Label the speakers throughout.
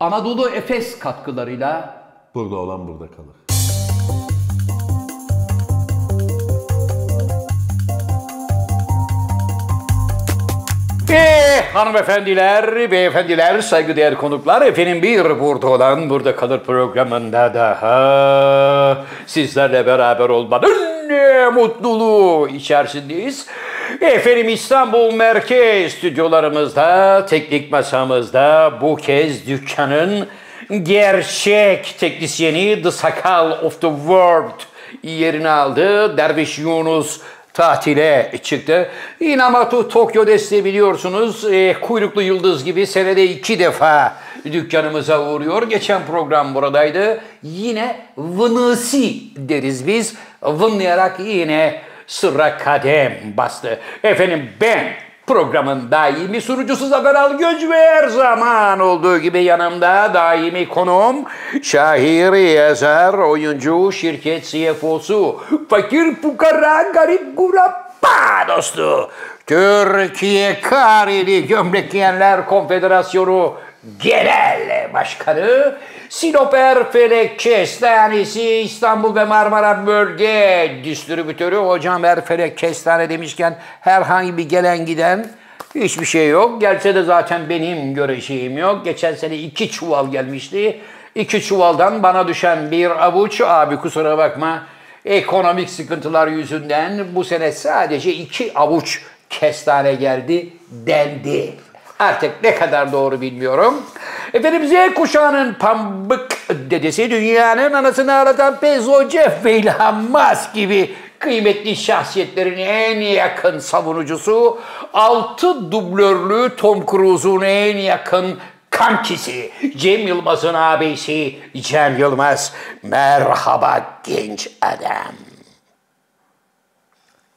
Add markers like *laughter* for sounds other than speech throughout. Speaker 1: Anadolu Efes katkılarıyla
Speaker 2: Burada olan burada kalır.
Speaker 3: Eee Eh, hanımefendiler, beyefendiler, saygıdeğer konuklar. Efendim bir burada olan Burada Kalır programında daha sizlerle beraber olmanın ne mutluluğu içerisindeyiz. Efendim İstanbul Merkez stüdyolarımızda, teknik masamızda bu kez dükkanın gerçek teknisyeni The Sakal of the World yerini aldı. Derviş Yunus tatile çıktı. Inamatu Tokyo desteği biliyorsunuz. e, kuyruklu yıldız gibi senede iki defa dükkanımıza uğruyor. Geçen program buradaydı. Yine Vınısi deriz biz. Vınlayarak yine sıra kadem bastı. Efendim ben Programın daimi sunucusu Zafer Algöz ve her zaman olduğu gibi yanımda daimi konuğum şair, yazar, oyuncu, şirket CFO'su, fakir, fukara, garip, kurabba dostu. Türkiye Kareli Gömlek Giyenler Konfederasyonu Genel Başkanı, Sinoper Felek Kestanesi İstanbul ve Marmara Bölge Distribütörü Hocam Erfelek Kestane demişken herhangi bir gelen giden hiçbir şey yok. Gelse de zaten benim göreceğim yok. Geçen sene iki çuval gelmişti. İki çuvaldan bana düşen bir avuç abi kusura bakma ekonomik sıkıntılar yüzünden bu sene sadece iki avuç kestane geldi dendi. Artık ne kadar doğru bilmiyorum. Efendim Z kuşağının pambık dedesi dünyanın anasını ağlatan Bezos, Jeff ve Elon Musk gibi kıymetli şahsiyetlerin en yakın savunucusu, altı dublörlü Tom Cruise'un en yakın kankisi Cem Yılmaz'ın abisi Cem Yılmaz. Merhaba genç adam.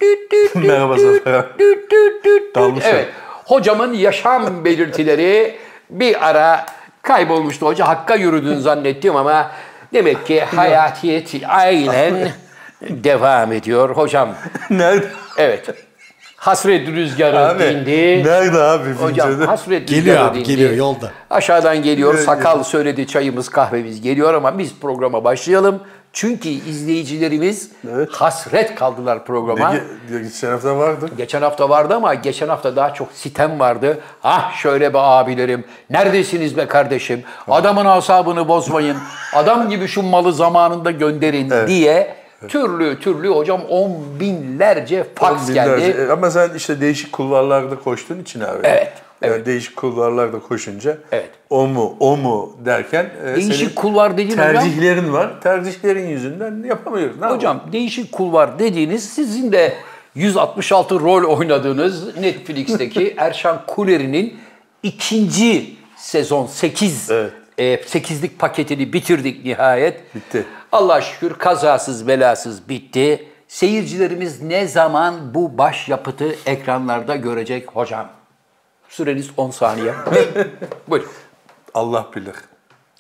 Speaker 3: Düt düt düt
Speaker 2: Merhaba
Speaker 3: düt
Speaker 2: Zafer.
Speaker 3: düt düt düt.
Speaker 2: Dalmışım.
Speaker 3: Evet. Hocamın yaşam belirtileri *laughs* bir ara kaybolmuştu. Hoca hakka yürüdün zannettim ama demek ki hayatiyet
Speaker 4: *laughs*
Speaker 3: aynen devam ediyor. Hocam
Speaker 2: *laughs* Nerede?
Speaker 3: evet. Hasret rüzgarı dindi.
Speaker 2: Nerede abi?
Speaker 3: Hocam
Speaker 2: Fincanı?
Speaker 3: hasret
Speaker 4: Geliyor
Speaker 3: rüzgarı
Speaker 4: abi,
Speaker 3: dindi.
Speaker 4: geliyor yolda.
Speaker 3: Aşağıdan geliyor
Speaker 2: Geliyor,
Speaker 3: sakal söyledi çayımız kahvemiz geliyor ama biz programa başlayalım. Çünkü izleyicilerimiz hasret kaldılar programa.
Speaker 2: Ge- ge- Şeref'te vardı.
Speaker 3: Geçen hafta vardı ama geçen hafta daha çok sitem vardı. Ah şöyle be abilerim, neredesiniz be kardeşim? Adamın asabını bozmayın, adam gibi şu malı zamanında gönderin diye türlü türlü hocam on binlerce fax
Speaker 2: Binlerce-
Speaker 3: geldi.
Speaker 2: E, Ama sen işte değişik kulvarlarda koştuğun için abi.
Speaker 3: Evet,
Speaker 2: Yani değişik kulvarlarda koşunca
Speaker 3: Evet.
Speaker 2: o mu o mu derken e,
Speaker 3: Değişik
Speaker 2: senin
Speaker 3: kulvar dediğin hocam.
Speaker 2: tercihlerin var. Tercihlerin yüzünden yapamıyoruz. Ne yapalım?
Speaker 3: Hocam değişik kulvar dediğiniz sizin de 166 rol oynadığınız
Speaker 2: *laughs*
Speaker 3: Netflix'teki Erşan Kuleri'nin ikinci sezon 8
Speaker 2: Evet.
Speaker 3: 8'lik paketini bitirdik nihayet.
Speaker 2: Bitti.
Speaker 3: Allah şükür kazasız belasız bitti. Seyircilerimiz ne zaman bu başyapıtı ekranlarda görecek hocam? Süreniz 10
Speaker 2: *laughs*
Speaker 3: saniye. Buyurun.
Speaker 2: Allah bilir.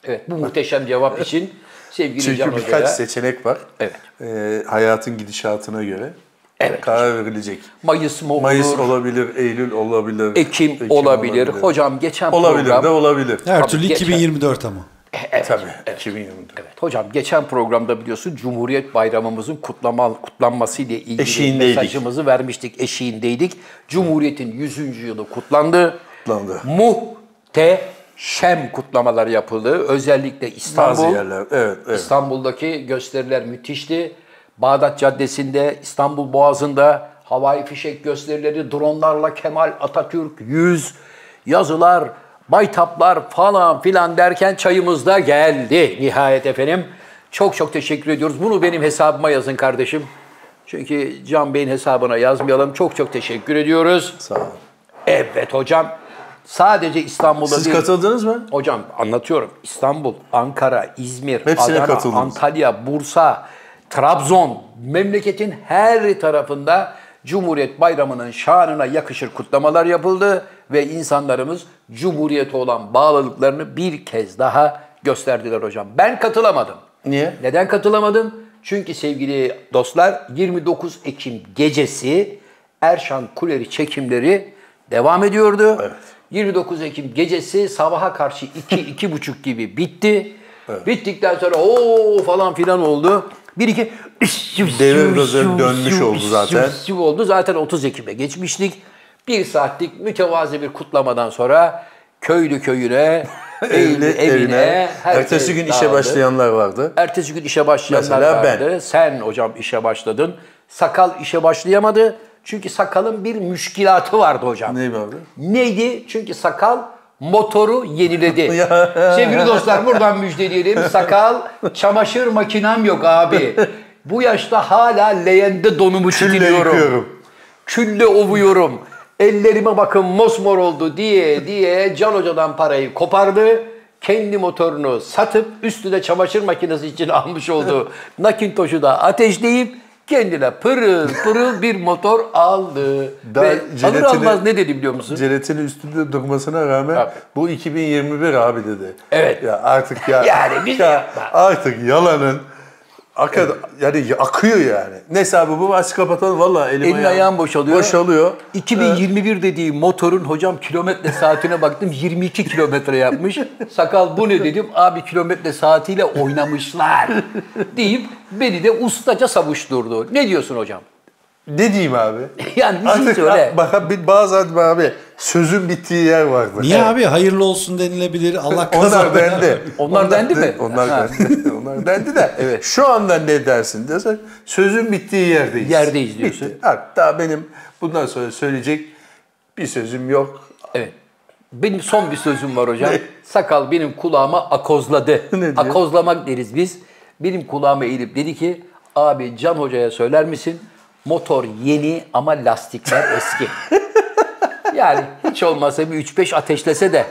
Speaker 3: Evet bu muhteşem cevap için sevgili Can
Speaker 2: Çünkü
Speaker 3: Hoca'ya-
Speaker 2: birkaç seçenek var.
Speaker 3: Evet.
Speaker 2: E, hayatın gidişatına göre
Speaker 3: Evet.
Speaker 2: karar verilecek.
Speaker 3: Mayıs mı olur?
Speaker 2: Mayıs olabilir, Eylül olabilir,
Speaker 3: Ekim, olabilir. Hocam geçen
Speaker 2: olabilir
Speaker 3: program...
Speaker 2: de olabilir.
Speaker 4: Her
Speaker 3: Abi
Speaker 4: türlü
Speaker 3: geçen-
Speaker 4: 2024 ama.
Speaker 2: Tabii. 2024.
Speaker 3: Evet, hocam geçen programda biliyorsun Cumhuriyet Bayramımızın kutlama, kutlanması ile ilgili
Speaker 2: Eşiğindeydik.
Speaker 3: mesajımızı vermiştik. Eşiğindeydik. Cumhuriyet'in 100. yılı kutlandı.
Speaker 2: Kutlandı.
Speaker 3: Muhteşem kutlamalar yapıldı. Özellikle İstanbul.
Speaker 2: Bazı yerler. Evet, evet.
Speaker 3: İstanbul'daki gösteriler müthişti. Bağdat Caddesi'nde, İstanbul Boğazı'nda havai fişek gösterileri, dronlarla Kemal Atatürk 100 yazılar, baytaplar falan filan derken çayımız da geldi nihayet efendim. Çok çok teşekkür ediyoruz. Bunu benim hesabıma yazın kardeşim. Çünkü Can Bey'in hesabına yazmayalım. Çok çok teşekkür ediyoruz.
Speaker 2: Sağ olun.
Speaker 3: Evet hocam. Sadece İstanbul'da
Speaker 2: Siz
Speaker 3: değil.
Speaker 2: katıldınız mı?
Speaker 3: Hocam anlatıyorum. İstanbul, Ankara, İzmir,
Speaker 2: Hepsine
Speaker 3: Adana,
Speaker 2: katıldınız.
Speaker 3: Antalya, Bursa, Trabzon memleketin her tarafında Cumhuriyet Bayramı'nın şanına yakışır kutlamalar yapıldı ve insanlarımız Cumhuriyete olan bağlılıklarını bir kez daha gösterdiler hocam. Ben katılamadım.
Speaker 2: Niye?
Speaker 3: Neden katılamadım? Çünkü sevgili dostlar 29 Ekim gecesi Erşan Kuleri çekimleri devam ediyordu. 29 Ekim gecesi sabaha karşı
Speaker 2: *laughs*
Speaker 3: 2-2.30 gibi bitti. Bittikten sonra o falan filan oldu. Bir iki
Speaker 2: Devir gözleri dönmüş oldu zaten.
Speaker 3: Siv oldu. Zaten 30 Ekim'e geçmiştik. Bir saatlik mütevazi bir kutlamadan sonra köylü köyüne,
Speaker 2: Evli,
Speaker 3: evli evine,
Speaker 2: *laughs* evine.
Speaker 3: herkes
Speaker 2: Ertesi gün işe
Speaker 3: dağıldı.
Speaker 2: başlayanlar vardı.
Speaker 3: Ertesi gün işe başlayanlar
Speaker 2: Mesela ben.
Speaker 3: vardı. Sen hocam işe başladın. Sakal işe başlayamadı. Çünkü sakalın bir müşkilatı vardı hocam.
Speaker 2: Neyim abi?
Speaker 3: Neydi? Çünkü sakal motoru yeniledi.
Speaker 2: *laughs* Ya.
Speaker 3: Sevgili dostlar buradan müjdeleyelim. Sakal çamaşır makinem yok abi. Bu yaşta hala leğende donumu çitiliyorum.
Speaker 2: yıkıyorum.
Speaker 3: Külle ovuyorum. Ellerime bakın mosmor oldu diye diye Can Hoca'dan parayı kopardı. Kendi motorunu satıp üstüne çamaşır makinesi için *laughs* almış olduğu nakintoşu da ateşleyip kendine pırıl pırıl bir motor aldı.
Speaker 2: Daha
Speaker 3: Ve alır
Speaker 2: jiletini-
Speaker 3: almaz ne dedi biliyor musun?
Speaker 2: Jelatini üstünde durmasına rağmen
Speaker 3: Abi.
Speaker 2: bu 2021 abi dedi.
Speaker 3: Evet.
Speaker 2: Ya artık ya.
Speaker 3: *laughs* Yani bir şey
Speaker 2: ya
Speaker 3: yapma.
Speaker 2: Artık yalanın akad yani akıyor yani. Neyse abi bu maçı kapatalım. Valla elim,
Speaker 3: Elin ayağım boşalıyor.
Speaker 2: Boşalıyor.
Speaker 3: 2021 dediği motorun hocam kilometre saatine baktım 22 kilometre yapmış. Sakal bu ne dedim abi kilometre saatiyle oynamışlar deyip beni de ustaca savuşturdu. Ne diyorsun hocam?
Speaker 2: Ne diyeyim abi?
Speaker 3: *laughs* Yani bir şey
Speaker 2: Artık
Speaker 3: söyle.
Speaker 2: a- bak bir- bazen abi sözün bittiği yer vardır.
Speaker 4: Niye abi hayırlı olsun
Speaker 3: *laughs*
Speaker 4: denilebilir. Allah
Speaker 2: Onlar
Speaker 4: kazandı.
Speaker 2: dendi.
Speaker 3: Onlar dendi mi?
Speaker 2: Onlar
Speaker 3: Ha. *laughs*
Speaker 2: dendi. Onlar dendi de.
Speaker 3: Evet.
Speaker 2: Şu anda ne dersin diyorsan sözün bittiği yerdeyiz.
Speaker 3: Yerdeyiz diyorsun.
Speaker 2: Bitti. Hatta benim bundan sonra söyleyecek bir sözüm yok.
Speaker 3: Evet. Benim son bir sözüm var hocam. Sakal benim kulağıma akozladı.
Speaker 2: *laughs* Ne diyor?
Speaker 3: Akozlamak deriz biz. Benim kulağıma eğilip dedi ki abi Can Hoca'ya söyler misin? Motor yeni ama lastikler
Speaker 2: *laughs*
Speaker 3: eski. yani hiç olmasa bir 3-5 ateşlese de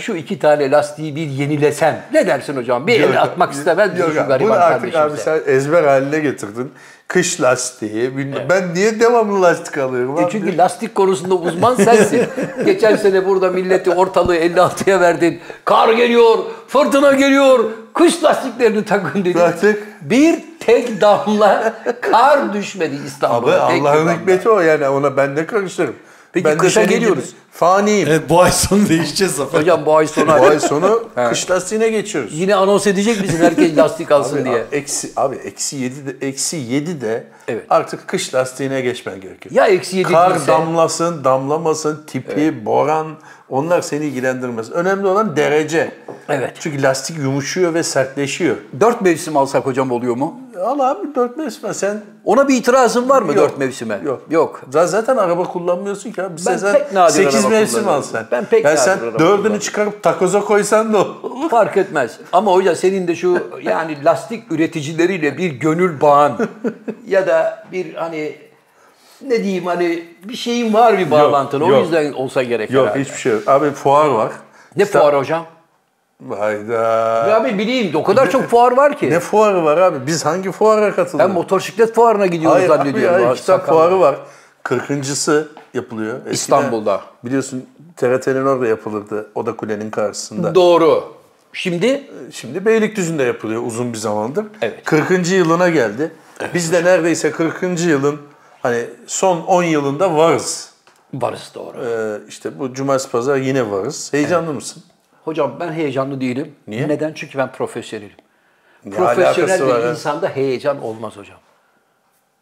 Speaker 3: şu iki tane lastiği bir yenilesem. Ne dersin hocam? Bir el atmak istemez misin
Speaker 2: Yok
Speaker 3: şu
Speaker 2: abi,
Speaker 3: gariban
Speaker 2: Bunu artık abi
Speaker 3: kardeşimize?
Speaker 2: sen ezber haline getirdin. Kış lastiği. bilmem- Ben niye devamlı lastik alıyorum?
Speaker 3: E
Speaker 2: abi?
Speaker 3: çünkü lastik konusunda uzman *laughs* sensin. Geçen sene burada milleti ortalığı 56'ya verdin. Kar geliyor, fırtına geliyor, kış lastiklerini takın dedin.
Speaker 2: Lastik.
Speaker 3: Bir tek damla kar düşmedi
Speaker 2: Abi
Speaker 3: İstanbul'a. tek bir
Speaker 2: Allah'ın
Speaker 3: damla.
Speaker 2: hikmeti o yani ona ben ne karışırım.
Speaker 3: Peki
Speaker 2: ben de
Speaker 3: kışa
Speaker 2: senin gibi
Speaker 3: geliyoruz.
Speaker 2: Faniyim.
Speaker 4: Evet bu ay sonu değişeceğiz Zafer.
Speaker 3: Hocam bu ay sonu
Speaker 2: Bu
Speaker 3: *laughs*
Speaker 2: ay sonu kış lastiğine geçiyoruz.
Speaker 3: yine anons edecek misin herkes lastik alsın
Speaker 2: Abi,
Speaker 3: diye.
Speaker 2: a- Eksi abi eksi 7 de eksi 7 de
Speaker 3: Evet.
Speaker 2: artık kış lastiğine geçmen gerekiyor.
Speaker 3: Ya eksi yedi
Speaker 2: Kar
Speaker 3: değilse?
Speaker 2: damlasın, damlamasın, tipi, boran onlar seni ilgilendirmez. Önemli olan derece.
Speaker 3: Evet.
Speaker 2: Çünkü lastik yumuşuyor ve sertleşiyor.
Speaker 3: Dört mevsim alsak hocam oluyor mu?
Speaker 2: Al abi dört mevsime sen
Speaker 3: Ona bir itirazın var mı
Speaker 2: Yok,
Speaker 3: dört mevsime?
Speaker 2: yok.
Speaker 3: yok.
Speaker 2: Z- zaten araba kullanmıyorsun ki abi.
Speaker 3: Ben
Speaker 2: sen
Speaker 3: pek nadir
Speaker 2: 8
Speaker 3: araba
Speaker 2: mevsim
Speaker 3: kullanıyorum.
Speaker 2: al sen.
Speaker 3: Ben pek
Speaker 2: yani
Speaker 3: nadir
Speaker 2: sen
Speaker 3: araba
Speaker 2: dördünü
Speaker 3: kullanıyorum.
Speaker 2: çıkarıp takoza koysan da olur.
Speaker 3: Fark etmez. Ama hoca senin de şu yani lastik üreticileriyle bir gönül bağın ya da bir hani ne diyeyim hani bir şeyin var bir bağlantın. o
Speaker 2: yok.
Speaker 3: yüzden olsa gerek
Speaker 2: Yok
Speaker 3: herhalde.
Speaker 2: hiçbir şey yok. Abi fuar var.
Speaker 3: Ne fuar hocam?
Speaker 2: Hayda.
Speaker 3: Ya abi bileyim de o kadar çok fuar var ki.
Speaker 2: Ne fuarı var abi? Biz hangi fuara katıldık?
Speaker 3: ben motosiklet fuarına gidiyoruz
Speaker 2: Hayır abi
Speaker 3: zannediyorum.
Speaker 2: ya
Speaker 3: Ha,
Speaker 2: kitap
Speaker 3: sakal.
Speaker 2: fuarı var. 40.sı yapılıyor. Eskiden
Speaker 3: İstanbul'da.
Speaker 2: Biliyorsun TRT'nin orada yapılırdı. Oda Kule'nin karşısında.
Speaker 3: Doğru. Şimdi
Speaker 2: Şimdi Beylikdüzü'nde yapılıyor uzun bir zamandır.
Speaker 3: Evet.
Speaker 2: 40. yılına geldi. Biz de neredeyse 40. yılın hani son 10 yılında varız.
Speaker 3: varız doğru.
Speaker 2: Ee, işte bu cumartesi pazar yine varız. Heyecanlı mısın?
Speaker 3: Hocam ben heyecanlı değilim.
Speaker 2: Niye?
Speaker 3: Neden? Çünkü ben profesyonelim.
Speaker 2: alakası
Speaker 3: Profesyonel
Speaker 2: var
Speaker 3: bir
Speaker 2: ya?
Speaker 3: insanda heyecan olmaz hocam.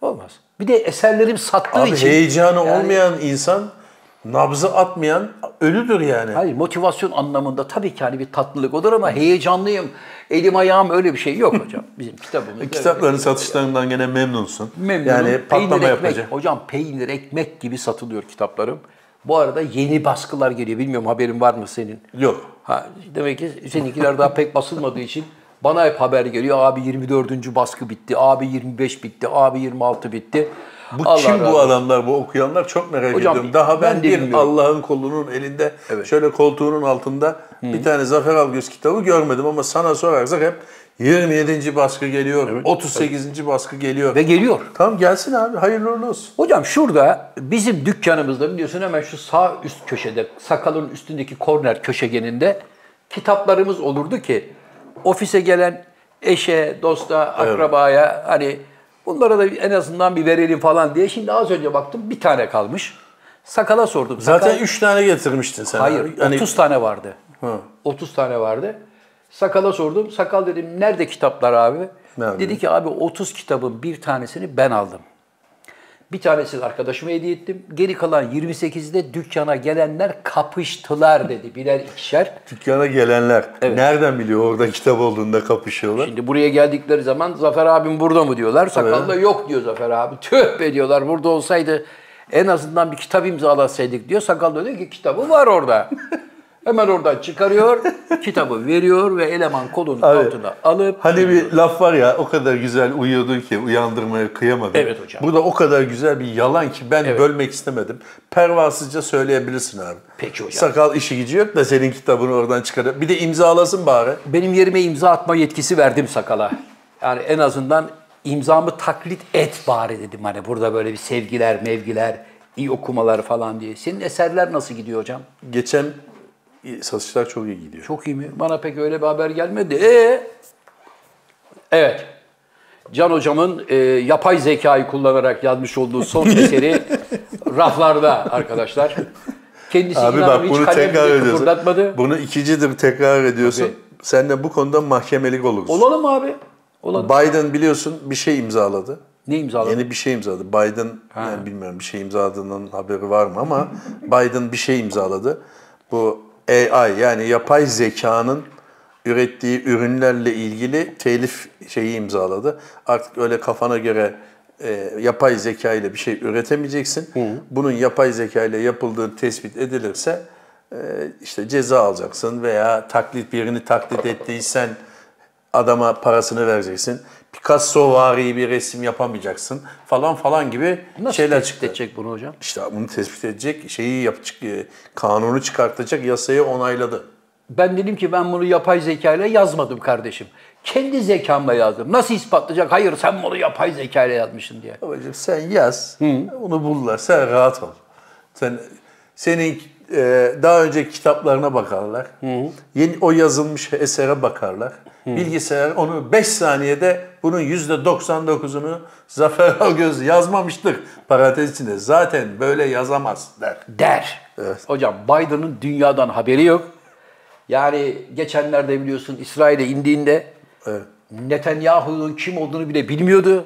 Speaker 3: Olmaz. Bir de eserlerim sattığı
Speaker 2: Abi
Speaker 3: için.
Speaker 2: heyecanı
Speaker 3: Yani-
Speaker 2: olmayan insan nabzı atmayan ölüdür yani.
Speaker 3: Hayır motivasyon anlamında tabii ki hani bir tatlılık olur ama heyecanlıyım. Elim ayağım öyle bir şey yok
Speaker 2: *laughs*
Speaker 3: hocam. Bizim kitabımızda.
Speaker 2: Kitapların satışlarından gene memnunsun.
Speaker 3: Memnunum.
Speaker 2: Yani patlama
Speaker 3: Peynir ekmek.
Speaker 2: yapacak.
Speaker 3: Hocam peynir ekmek gibi satılıyor kitaplarım. Bu arada yeni baskılar geliyor. Bilmiyorum haberin var mı senin?
Speaker 2: Yok.
Speaker 3: Ha, demek ki seninkiler daha pek basılmadığı için bana hep haber geliyor. Abi 24. baskı bitti, abi 25 bitti, abi 26 bitti.
Speaker 2: Bu
Speaker 3: Allah
Speaker 2: kim
Speaker 3: razı
Speaker 2: bu
Speaker 3: olsun.
Speaker 2: adamlar, bu okuyanlar çok merak
Speaker 3: Hocam,
Speaker 2: ediyorum. Daha
Speaker 3: ben
Speaker 2: ben,
Speaker 3: de
Speaker 2: bir
Speaker 3: bilmiyorum.
Speaker 2: Allah'ın kolunun elinde şöyle koltuğunun altında bir tane Zafer Algöz kitabı görmedim ama sana sorarsak hep 27. baskı geliyor, 38. baskı geliyor.
Speaker 3: Ve geliyor.
Speaker 2: Tamam gelsin abi hayırlı uğurlu olsun.
Speaker 3: Hocam şurada bizim dükkanımızda biliyorsun hemen şu sağ üst köşede sakalın üstündeki korner köşegeninde kitaplarımız olurdu ki ofise gelen eşe, dosta, akrabaya hani bunlara da en azından bir verelim falan diye. Şimdi az önce baktım bir tane kalmış. Sakala sordum.
Speaker 2: Zaten
Speaker 3: Sakal-
Speaker 2: 3 tane getirmiştin sen.
Speaker 3: Hayır,
Speaker 2: abi. Hani
Speaker 3: 30 tane vardı.
Speaker 2: Hı.
Speaker 3: 30 tane vardı. Sakala sordum. Sakal dedim nerede kitaplar abi?
Speaker 2: Nerede?
Speaker 3: Dedi ki abi 30 kitabın bir tanesini ben aldım. Bir tanesini arkadaşıma hediye ettim. Geri kalan 28'de dükkana gelenler kapıştılar dedi. Birer ikişer.
Speaker 2: dükkana gelenler nereden biliyor orada kitap olduğunda kapışıyorlar?
Speaker 3: Şimdi buraya geldikleri zaman Zafer abim burada mı diyorlar. Sakallı yok diyor Zafer abi. Tüh be diyorlar burada olsaydı en azından bir kitap imzalasaydık diyor. Sakallı diyor ki kitabı var orada. Hemen oradan çıkarıyor, kitabı veriyor ve eleman kolunun altına alıp
Speaker 2: Hani bir laf var ya o kadar güzel uyuyordun ki uyandırmaya kıyamadın.
Speaker 3: Evet hocam.
Speaker 2: Bu da o kadar güzel bir yalan ki ben bölmek istemedim. Pervasızca söyleyebilirsin abi.
Speaker 3: Peki hocam.
Speaker 2: Sakal işi gücü yok da senin kitabını oradan çıkarıp bir de imzalasın bari.
Speaker 3: benim yerime imza atma yetkisi verdim sakala. Yani en azından imzamı taklit et bari dedim hani burada böyle bir sevgiler, mevgiler, iyi okumalar falan diye. Senin eserler nasıl gidiyor hocam?
Speaker 2: Geçen satışlar çok iyi gidiyor.
Speaker 3: Çok iyi mi? Bana pek öyle bir haber gelmedi. Ee? Evet. Can hocamın e, yapay zekayı kullanarak yazmış olduğu
Speaker 2: *laughs*
Speaker 3: son eseri raflarda arkadaşlar. Kendisi
Speaker 2: Abi
Speaker 3: inanın
Speaker 2: bak
Speaker 3: hiç
Speaker 2: bunu
Speaker 3: kalem bile
Speaker 2: tekrar ediyorsun.
Speaker 3: kıpırdatmadı.
Speaker 2: Bunu ikicidir tekrar ediyorsun.
Speaker 3: Tabii.
Speaker 2: Sen de bu konuda mahkemelik olursun.
Speaker 3: Olalım abi. Olalım.
Speaker 2: Biden biliyorsun bir şey imzaladı.
Speaker 3: ne imzaladın?
Speaker 2: Yeni bir şey imzaladı. Biden yani bilmiyorum bir şey imzaladığının haberi var mı ama Biden bir şey imzaladı. Bu AI yani yapay zekanın ürettiği ürünlerle ilgili telif şeyi imzaladı. Artık öyle kafana göre e, yapay zeka ile bir şey üretemeyeceksin. Bunun yapay zeka ile yapıldığı tespit edilirse e, işte ceza alacaksın veya taklit birini taklit ettiysen adama parasını vereceksin. Picasso vari bir resim yapamayacaksın falan falan gibi
Speaker 3: Nasıl
Speaker 2: şeyler
Speaker 3: tespit
Speaker 2: çıktı.
Speaker 3: edecek bunu hocam?
Speaker 2: İşte bunu tespit edecek, şeyi yapacak, e, kanunu çıkartacak, yasayı onayladı.
Speaker 3: Ben dedim ki ben bunu yapay zekayla yazmadım kardeşim. Kendi zekamla yazdım. Nasıl ispatlayacak? Hayır sen bunu yapay zekayla yazmışsın diye.
Speaker 2: Babacığım sen yaz, onu bulurlar, sen rahat ol. Sen Senin e, daha önceki kitaplarına bakarlar, yeni o yazılmış esere bakarlar. Bilgisayar onu 5 saniyede bunun %99'unu Zafer Algöz yazmamıştır parantez içinde. Zaten böyle yazamaz der.
Speaker 3: der. Hocam Biden'ın dünyadan haberi yok. Yani geçenlerde biliyorsun İsrail'e indiğinde Netanyahu'nun kim olduğunu bile bilmiyordu.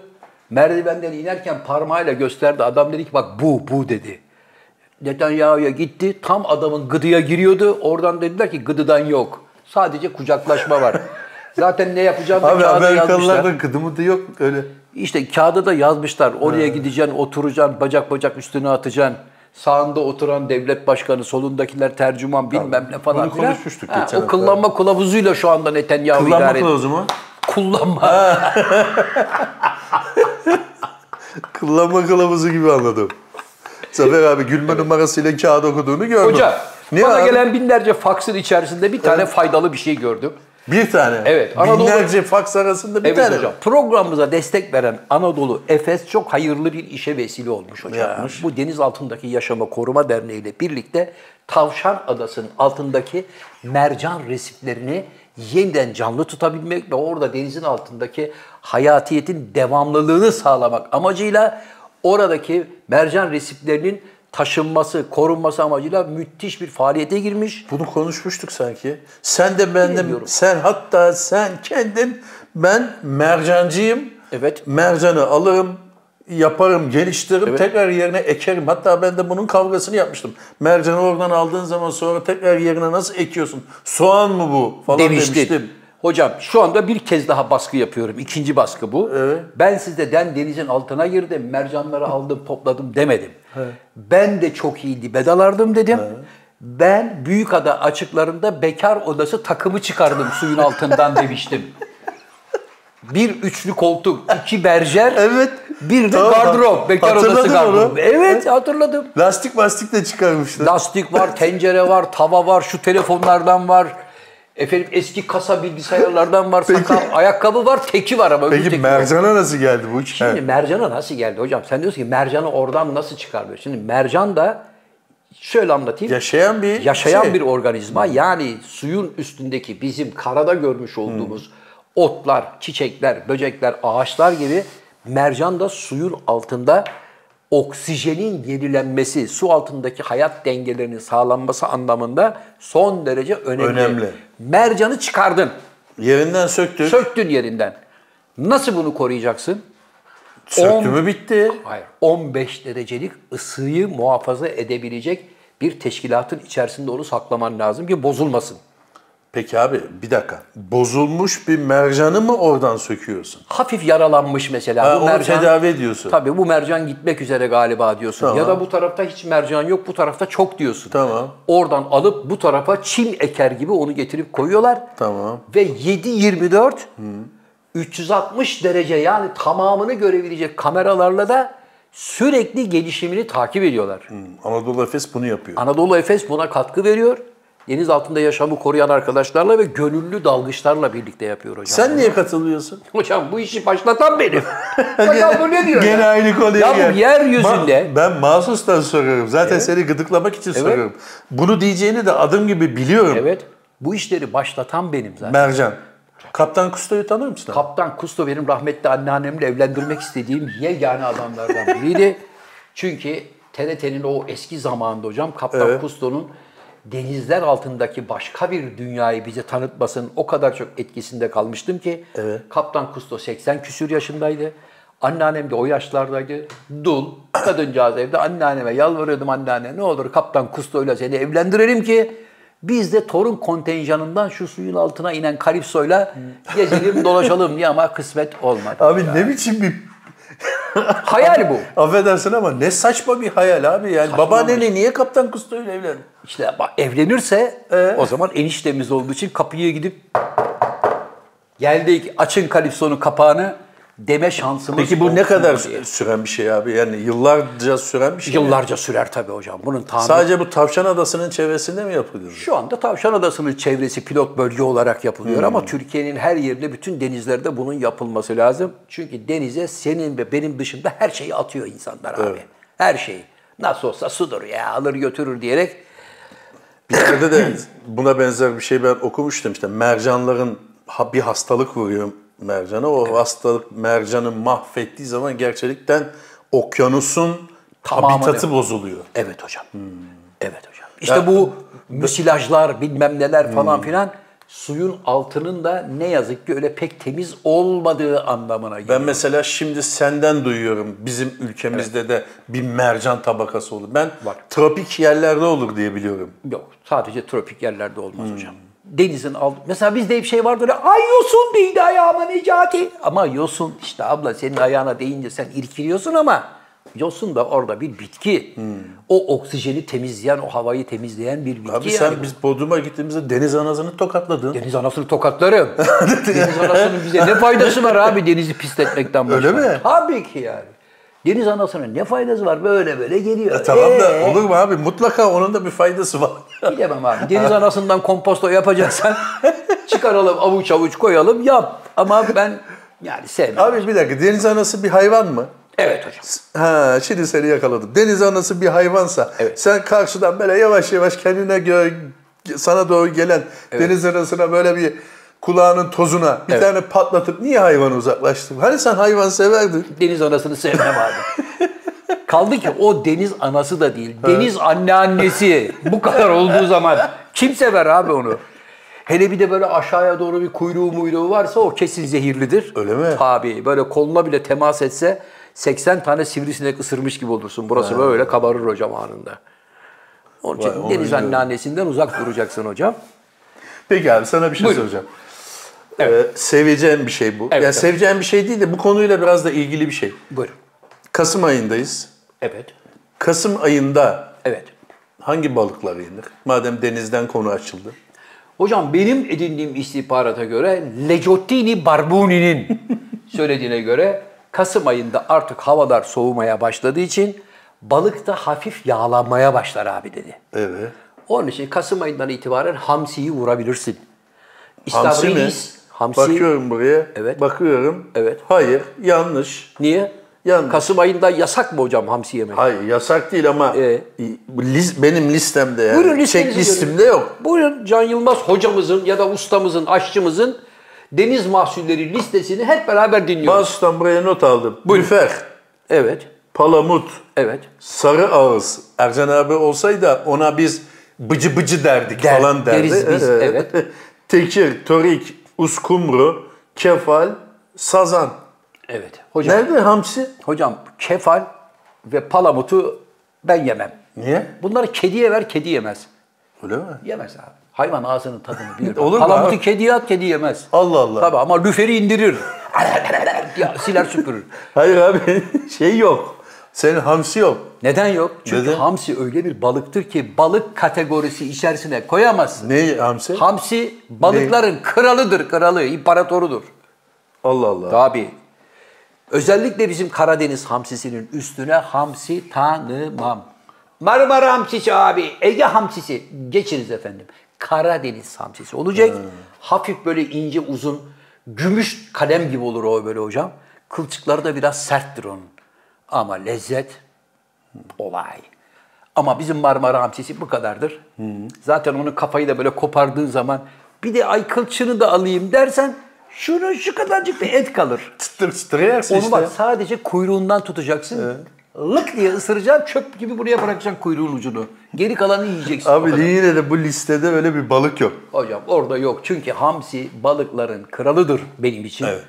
Speaker 3: Merdivenden inerken parmağıyla gösterdi. Adam dedi ki bak bu bu dedi. Netanyahu'ya gitti. Tam adamın gıdıya giriyordu. Oradan dediler ki gıdıdan yok. Sadece kucaklaşma var. Zaten ne yapacağını da
Speaker 2: Abi
Speaker 3: kağıda yazmışlar.
Speaker 2: Amerikalılarda kıdımı da yok öyle.
Speaker 3: İşte kağıda da yazmışlar. Oraya gideceksin, oturacaksın, bacak bacak üstüne atacaksın. Sağında oturan devlet başkanı, solundakiler tercüman bilmem ne falan
Speaker 2: Bunu
Speaker 3: filan.
Speaker 2: konuşmuştuk
Speaker 3: Ha,
Speaker 2: geçen
Speaker 3: O
Speaker 2: hafta.
Speaker 3: kullanma kılavuzuyla şu anda Netanyahu
Speaker 2: Kullanma
Speaker 3: idare ediyor.
Speaker 2: kılavuzu mu?
Speaker 3: Kullanma.
Speaker 2: Kullanma kılavuzu gibi anladım. Zafer abi gülme numarasıyla kağıt okuduğunu gördüm.
Speaker 3: Hoca,
Speaker 2: ne
Speaker 3: bana
Speaker 2: abi?
Speaker 3: gelen binlerce faksın içerisinde bir tane faydalı bir şey gördüm.
Speaker 2: Bir tane.
Speaker 3: Evet, Anadolu-
Speaker 2: Binlerce faks arasında bir
Speaker 3: Evet
Speaker 2: tane.
Speaker 3: hocam. Programımıza destek veren Anadolu Efes çok hayırlı bir işe vesile olmuş hocam.
Speaker 2: Yapmış.
Speaker 3: Bu deniz altındaki yaşama koruma derneği ile birlikte Tavşan Adası'nın altındaki mercan resiflerini yeniden canlı tutabilmek ve orada denizin altındaki hayatiyetin devamlılığını sağlamak amacıyla oradaki mercan resiflerinin taşınması, korunması amacıyla müthiş bir faaliyete girmiş.
Speaker 2: Bunu konuşmuştuk sanki. Sen de ben de
Speaker 3: Bilmiyorum.
Speaker 2: sen hatta sen kendin ben mercancıyım.
Speaker 3: Evet.
Speaker 2: Mercanı alırım, yaparım, geliştiririm, tekrar yerine ekerim. Hatta ben de bunun kavgasını yapmıştım. Mercanı oradan aldığın zaman sonra tekrar yerine nasıl ekiyorsun? Soğan mı bu falan
Speaker 3: demiştin.
Speaker 2: demiştim.
Speaker 3: Hocam şu anda bir kez daha baskı yapıyorum. İkinci baskı bu. Ben sizde den denizin altına girdim, mercanları aldım, topladım demedim. Ben de çok iyi dibedalardım dedim. Ben Büyükada açıklarında bekar odası takımı çıkardım suyun altından demiştim. Bir üçlü koltuk, iki berjer,
Speaker 2: Evet.
Speaker 3: bir de
Speaker 2: Tamam,
Speaker 3: gardırop, bekar odası
Speaker 2: hatırladım
Speaker 3: gardırop.
Speaker 2: onu.
Speaker 3: Evet hatırladım.
Speaker 2: Lastik mastik de çıkarmışlar.
Speaker 3: Lastik var, tencere var, tava var, şu telefonlardan var. Efendim eski kasa bilgisayarlardan var, sakal, ayakkabı var, teki var ama öbür
Speaker 2: Peki
Speaker 3: teki yok.
Speaker 2: mercana nasıl geldi bu iş?
Speaker 3: Şimdi
Speaker 2: He.
Speaker 3: mercana nasıl geldi hocam? Sen diyorsun ki mercanı oradan nasıl çıkarıyor? Şimdi mercan da şöyle anlatayım.
Speaker 2: Yaşayan bir
Speaker 3: Yaşayan
Speaker 2: şey.
Speaker 3: bir organizma yani suyun üstündeki bizim karada görmüş olduğumuz
Speaker 2: Hmm.
Speaker 3: otlar, çiçekler, böcekler, ağaçlar gibi mercan da suyun altında oksijenin gerilenmesi, su altındaki hayat dengelerinin sağlanması anlamında son derece önemli.
Speaker 2: Önemli.
Speaker 3: Mercanı çıkardın,
Speaker 2: Yerinden söktü.
Speaker 3: söktün yerinden. Nasıl bunu koruyacaksın?
Speaker 2: Söktü
Speaker 3: On-
Speaker 2: mü bitti.
Speaker 3: Hayır. 15 derecelik ısıyı muhafaza edebilecek bir teşkilatın içerisinde onu saklaman lazım ki bozulmasın.
Speaker 2: Peki abi bir dakika. Bozulmuş bir mercanı mı oradan söküyorsun?
Speaker 3: Hafif yaralanmış mesela.
Speaker 2: Ha,
Speaker 3: Bu
Speaker 2: onu tedavi ediyorsun.
Speaker 3: Tabii bu mercan gitmek üzere galiba diyorsun.
Speaker 2: Tamam.
Speaker 3: Ya da bu tarafta hiç mercan yok, bu tarafta çok diyorsun.
Speaker 2: Tamam.
Speaker 3: Oradan alıp bu tarafa çim eker gibi onu getirip koyuyorlar.
Speaker 2: Tamam.
Speaker 3: Ve 7-24 360 derece yani tamamını görebilecek kameralarla da sürekli gelişimini takip ediyorlar.
Speaker 2: Anadolu Efes bunu yapıyor.
Speaker 3: Anadolu Efes buna katkı veriyor. Deniz altında yaşamı koruyan arkadaşlarla ve gönüllü dalgıçlarla birlikte yapıyor hocam.
Speaker 2: Sen niye katılıyorsun?
Speaker 3: Hocam bu işi başlatan benim. hocam bu ne diyor
Speaker 2: Gene
Speaker 3: ya?
Speaker 2: aynı konuya
Speaker 3: Ya bu
Speaker 2: gel.
Speaker 3: yeryüzünde-
Speaker 2: Ma- ben mahsustan soruyorum. Zaten seni gıdıklamak için soruyorum. Bunu diyeceğini de adım gibi biliyorum.
Speaker 3: Evet. Bu işleri başlatan benim zaten.
Speaker 2: Mercan. Kaptan Kusto'yu tanır mısın? abi?
Speaker 3: Kaptan Kusto benim rahmetli anneannemle evlendirmek istediğim yegane adamlardan biriydi. Çünkü TRT'nin o eski zamanında hocam Kaptan Kusto'nun denizler altındaki başka bir dünyayı bize tanıtmasının o kadar çok etkisinde kalmıştım ki Kaptan Kusto 80 küsür yaşındaydı. Anneannem de o yaşlardaydı. Dul, kadıncağız evde. Anneanneme yalvarıyordum anneanne ne olur Kaptan Kusto'yla seni evlendirelim ki Biz de torun kontenjanından şu suyun altına inen Kalipso'yla gezelim dolaşalım diye ama kısmet olmadı.
Speaker 2: Abi ne biçim bir
Speaker 3: Hayal bu.
Speaker 2: affedersin ama ne saçma şey. bir hayal abi yani. Babaannenle niye Kaptan Kusto'yla evlendin?
Speaker 3: İşte bak evlenirse
Speaker 2: Ee?
Speaker 3: o zaman eniştemiz olduğu için kapıya gidip geldik açın Kalipso'nun kapağını deme şansımız
Speaker 2: Peki bu ne
Speaker 3: olsun
Speaker 2: kadar
Speaker 3: diye.
Speaker 2: sü- süren bir şey abi? Yani yıllarca süren bir şey. mi?
Speaker 3: Yıllarca sürer tabii hocam. Bunun tamiri.
Speaker 2: Sadece bu Tavşan Adası'nın çevresinde mi yapılıyor?
Speaker 3: Şu anda Tavşan Adası'nın çevresi pilot bölge olarak yapılıyor ama Türkiye'nin her yerinde bütün denizlerde bunun yapılması lazım. Çünkü denize senin ve benim dışında her şeyi atıyor insanlar abi. Her şeyi. Nasıl olsa sudur ya alır götürür diyerek
Speaker 2: Bir yerde de buna benzer bir şey ben okumuştum işte mercanların ha- bir hastalık vuruyor mercana. O hastalık mercanı mahvettiği zaman gerçekten okyanusun
Speaker 3: Tamamını.
Speaker 2: habitatı bozuluyor.
Speaker 3: Evet hocam. Evet hocam. İşte bu müsilajlar bilmem neler falan filan suyun altının da ne yazık ki öyle pek temiz olmadığı anlamına geliyor.
Speaker 2: Ben mesela şimdi senden duyuyorum bizim ülkemizde de bir mercan tabakası olur. Ben
Speaker 3: Var.
Speaker 2: tropik yerlerde olur diye biliyorum.
Speaker 3: Yok sadece tropik yerlerde olmaz
Speaker 2: Hmm.
Speaker 3: hocam. Denizin alt... Mesela bizde hep şey vardır ya, ay yosun değdi ayağıma Necati. Ama yosun işte abla senin ayağına değince sen irkiliyorsun ama yosun da orada bir bitki.
Speaker 2: Hmm.
Speaker 3: O oksijeni temizleyen, o havayı temizleyen bir bitki.
Speaker 2: Abi
Speaker 3: yani.
Speaker 2: sen biz Bodrum'a gittiğimizde deniz anasını tokatladın.
Speaker 3: Deniz anasını
Speaker 2: *laughs*
Speaker 3: tokatlarım. deniz anasının bize ne faydası var abi denizi pisletmekten başka?
Speaker 2: Öyle mi?
Speaker 3: Tabii ki yani. Deniz anasına ne faydası var böyle böyle geliyor.
Speaker 2: E, Tamam da
Speaker 3: Ee,
Speaker 2: olur mu abi? Mutlaka onun da bir faydası var.
Speaker 3: Bilemem abi. Deniz anasından komposto yapacaksan *laughs* çıkaralım avuç avuç koyalım yap. Ama ben yani sevmem.
Speaker 2: abi bir dakika deniz anası bir hayvan mı?
Speaker 3: Evet hocam.
Speaker 2: Ha şimdi seni yakaladım. Deniz anası bir hayvansa
Speaker 3: Evet.
Speaker 2: sen karşıdan böyle yavaş yavaş kendine gö- sana doğru gelen deniz anasına böyle bir kulağının tozuna bir
Speaker 3: Evet.
Speaker 2: tane patlatıp niye hayvanı uzaklaştırdın? Hani sen hayvan severdin?
Speaker 3: Deniz anasını sevmem
Speaker 2: *laughs*
Speaker 3: abi. Kaldı ki o deniz anası da değil. Deniz anneannesi bu kadar olduğu zaman kim sever abi onu? Hele bir de böyle aşağıya doğru bir kuyruğu muyruğu varsa o kesin zehirlidir.
Speaker 2: Öyle mi?
Speaker 3: Tabii. Böyle koluna bile temas etse 80 tane sivrisinek ısırmış gibi olursun. Burası böyle kabarır hocam anında. Onun için
Speaker 2: Vay, onu
Speaker 3: deniz
Speaker 2: bilmiyorum.
Speaker 3: anneannesinden uzak duracaksın hocam.
Speaker 2: Peki abi sana bir şey
Speaker 3: Buyurun.
Speaker 2: soracağım. Ee, seveceğim bir şey bu. yani
Speaker 3: evet.
Speaker 2: seveceğim bir şey değil de bu konuyla biraz da ilgili bir şey.
Speaker 3: Buyurun.
Speaker 2: Kasım ayındayız.
Speaker 3: Evet.
Speaker 2: Kasım ayında
Speaker 3: Evet.
Speaker 2: hangi balıklar yenir? Madem denizden konu açıldı.
Speaker 3: Hocam benim edindiğim istihbarata göre Lecottini
Speaker 2: *laughs*
Speaker 3: Barbuni'nin söylediğine göre Kasım ayında artık havalar soğumaya başladığı için balık da hafif yağlanmaya başlar abi dedi.
Speaker 2: Evet.
Speaker 3: Onun için Kasım ayından itibaren hamsiyi vurabilirsin.
Speaker 2: Hamsi mi?
Speaker 3: İstavridis, Hamsi.
Speaker 2: Bakıyorum buraya.
Speaker 3: şey- Evet.
Speaker 2: Bakıyorum.
Speaker 3: Evet.
Speaker 2: Hayır, yanlış.
Speaker 3: Niye?
Speaker 2: Yanlış.
Speaker 3: Kasım ayında yasak mı hocam hamsi yemek?
Speaker 2: Hayır, yasak değil ama
Speaker 3: Ee?
Speaker 2: bu lis- benim listemde yani.
Speaker 3: Buyurun listenizi
Speaker 2: Çek listemde yok.
Speaker 3: Buyurun Can Yılmaz hocamızın ya da ustamızın, aşçımızın deniz mahsulleri listesini hep beraber dinliyoruz.
Speaker 2: Mahsus'tan buraya not aldım. Bülfer,
Speaker 3: Evet.
Speaker 2: palamut,
Speaker 3: Evet.
Speaker 2: sarı ağız. Ercan abi olsaydı ona biz bıcı bıcı derdik
Speaker 3: Der-
Speaker 2: falan derdi.
Speaker 3: deriz biz, evet.
Speaker 2: *laughs* Tekir, Torik, Uskumru, Kefal, Sazan.
Speaker 3: Evet. Hocam,
Speaker 2: Nerede hamsi?
Speaker 3: hocam kefal ve palamutu ben yemem.
Speaker 2: Niye?
Speaker 3: Bunları kediye ver, kedi yemez.
Speaker 2: Öyle mi?
Speaker 3: Yemez abi. Hayvan ağzının
Speaker 2: *laughs*
Speaker 3: tadını bilir.
Speaker 2: Olur mu
Speaker 3: Palamutu
Speaker 2: abi?
Speaker 3: kediye at, kedi yemez.
Speaker 2: Allah Allah.
Speaker 3: Tabii ama lüferi indirir. *laughs* ya, siler süpürür.
Speaker 2: Hayır abi *laughs* şey yok. Senin hamsi yok.
Speaker 3: Neden yok? Çünkü
Speaker 2: Neden?
Speaker 3: hamsi öyle bir balıktır ki balık kategorisi içerisine koyamazsın.
Speaker 2: Ne hamsi?
Speaker 3: Hamsi balıkların kralıdır, kralı, imparatorudur.
Speaker 2: Allah Allah.
Speaker 3: Tabii. Özellikle bizim Karadeniz hamsisinin üstüne hamsi tanımam. Marmara hamsisi abi, Ege hamsisi. Geçiniz efendim. Karadeniz hamsisi olacak. Hafif böyle ince uzun, gümüş kalem gibi olur o böyle hocam. Kılçıkları da biraz serttir onun. Ama lezzet olay. Ama bizim Marmara hamsisi bu kadardır. Zaten onun kafayı da böyle kopardığın zaman bir de ay kılçını da alayım dersen şunun şu kadarcık bir et kalır.
Speaker 2: Çıtır çıtır yersin
Speaker 3: Onu
Speaker 2: işte.
Speaker 3: bak sadece kuyruğundan tutacaksın. Lık diye ısıracaksın çöp gibi buraya bırakacaksın kuyruğun ucunu. Geri kalanı yiyeceksin. o kadar.
Speaker 2: Abi yine de bu listede öyle bir balık yok.
Speaker 3: Hocam orada yok. Çünkü hamsi balıkların kralıdır benim için.
Speaker 2: Evet.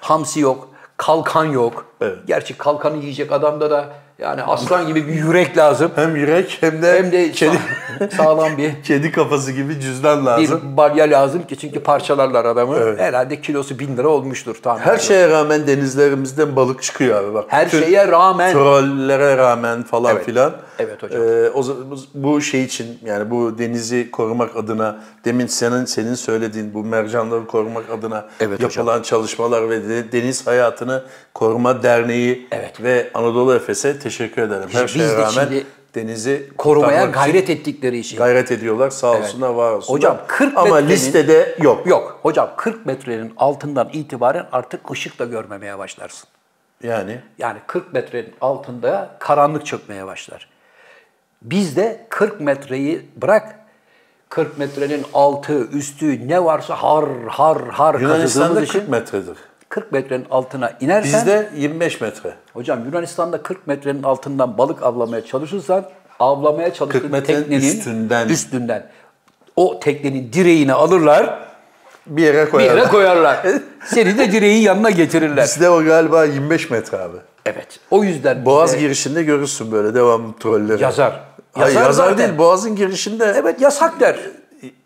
Speaker 3: Hamsi yok. Kalkan yok.
Speaker 2: Evet.
Speaker 3: Gerçi kalkanı yiyecek adamda da yani aslan gibi bir yürek lazım.
Speaker 2: Hem yürek hem de,
Speaker 3: Hem de
Speaker 2: kedi,
Speaker 3: sa- *laughs* sağlam bir
Speaker 2: kedi kafası gibi cüzdan lazım.
Speaker 3: bir balya lazım ki çünkü parçalarlar adamı. Herhalde kilosu bin lira olmuştur tahmin
Speaker 2: Her şey-
Speaker 3: ediyorum.
Speaker 2: şeye rağmen denizlerimizden balık çıkıyor abi bak.
Speaker 3: Her
Speaker 2: Bütün
Speaker 3: şeye rağmen.
Speaker 2: Trollere rağmen falan
Speaker 3: Evet.
Speaker 2: filan.
Speaker 3: Evet hocam.
Speaker 2: Ee, o zaman bu şey için yani bu denizi korumak adına demin senin senin söylediğin bu mercanları korumak adına
Speaker 3: Evet
Speaker 2: yapılan çalışmalar ve de- Deniz Hayatını Koruma Derneği
Speaker 3: Evet.
Speaker 2: ve Anadolu Efes'e teşekkür ederim. Her
Speaker 3: Biz
Speaker 2: şeye
Speaker 3: de
Speaker 2: rağmen
Speaker 3: şimdi
Speaker 2: denizi
Speaker 3: korumaya
Speaker 2: kurtarmak için
Speaker 3: gayret ettikleri için.
Speaker 2: gayret ediyorlar. Sağ olsunlar, var olsunlar.
Speaker 3: Hocam, 40
Speaker 2: ama
Speaker 3: metrenin-
Speaker 2: listede yok.
Speaker 3: Yok hocam 40 metrenin altından itibaren artık ışık da görmemeye başlarsın.
Speaker 2: Yani
Speaker 3: Yani 40 metrenin altında karanlık çökmeye başlar. Biz de 40 metreyi bırak 40 metrenin altı, üstü ne varsa har har har
Speaker 2: Yunanistan'da
Speaker 3: kazıdığımız
Speaker 2: 40
Speaker 3: için
Speaker 2: metredir.
Speaker 3: 40 metrenin altına inersen
Speaker 2: Bizde 25 metre.
Speaker 3: Hocam Yunanistan'da 40 metrenin altından balık avlamaya çalışırsan avlamaya çalıştığın
Speaker 2: 40 metrenin
Speaker 3: teknenin
Speaker 2: üstünden.
Speaker 3: üstünden o teknenin direğini alırlar,
Speaker 2: Bir yere
Speaker 3: bir
Speaker 2: koyarlar.
Speaker 3: yere koyarlar. *laughs* Seni de direğin yanına getirirler.
Speaker 2: Bizde o galiba 25 metre abi.
Speaker 3: Evet. O yüzden
Speaker 2: Boğaz
Speaker 3: bize
Speaker 2: girişinde görürsün böyle devamlı trolleri.
Speaker 3: Ee, yazar.
Speaker 2: Hayır yazar,
Speaker 3: zaten.
Speaker 2: değil. Boğaz'ın girişinde
Speaker 3: Evet yasak der.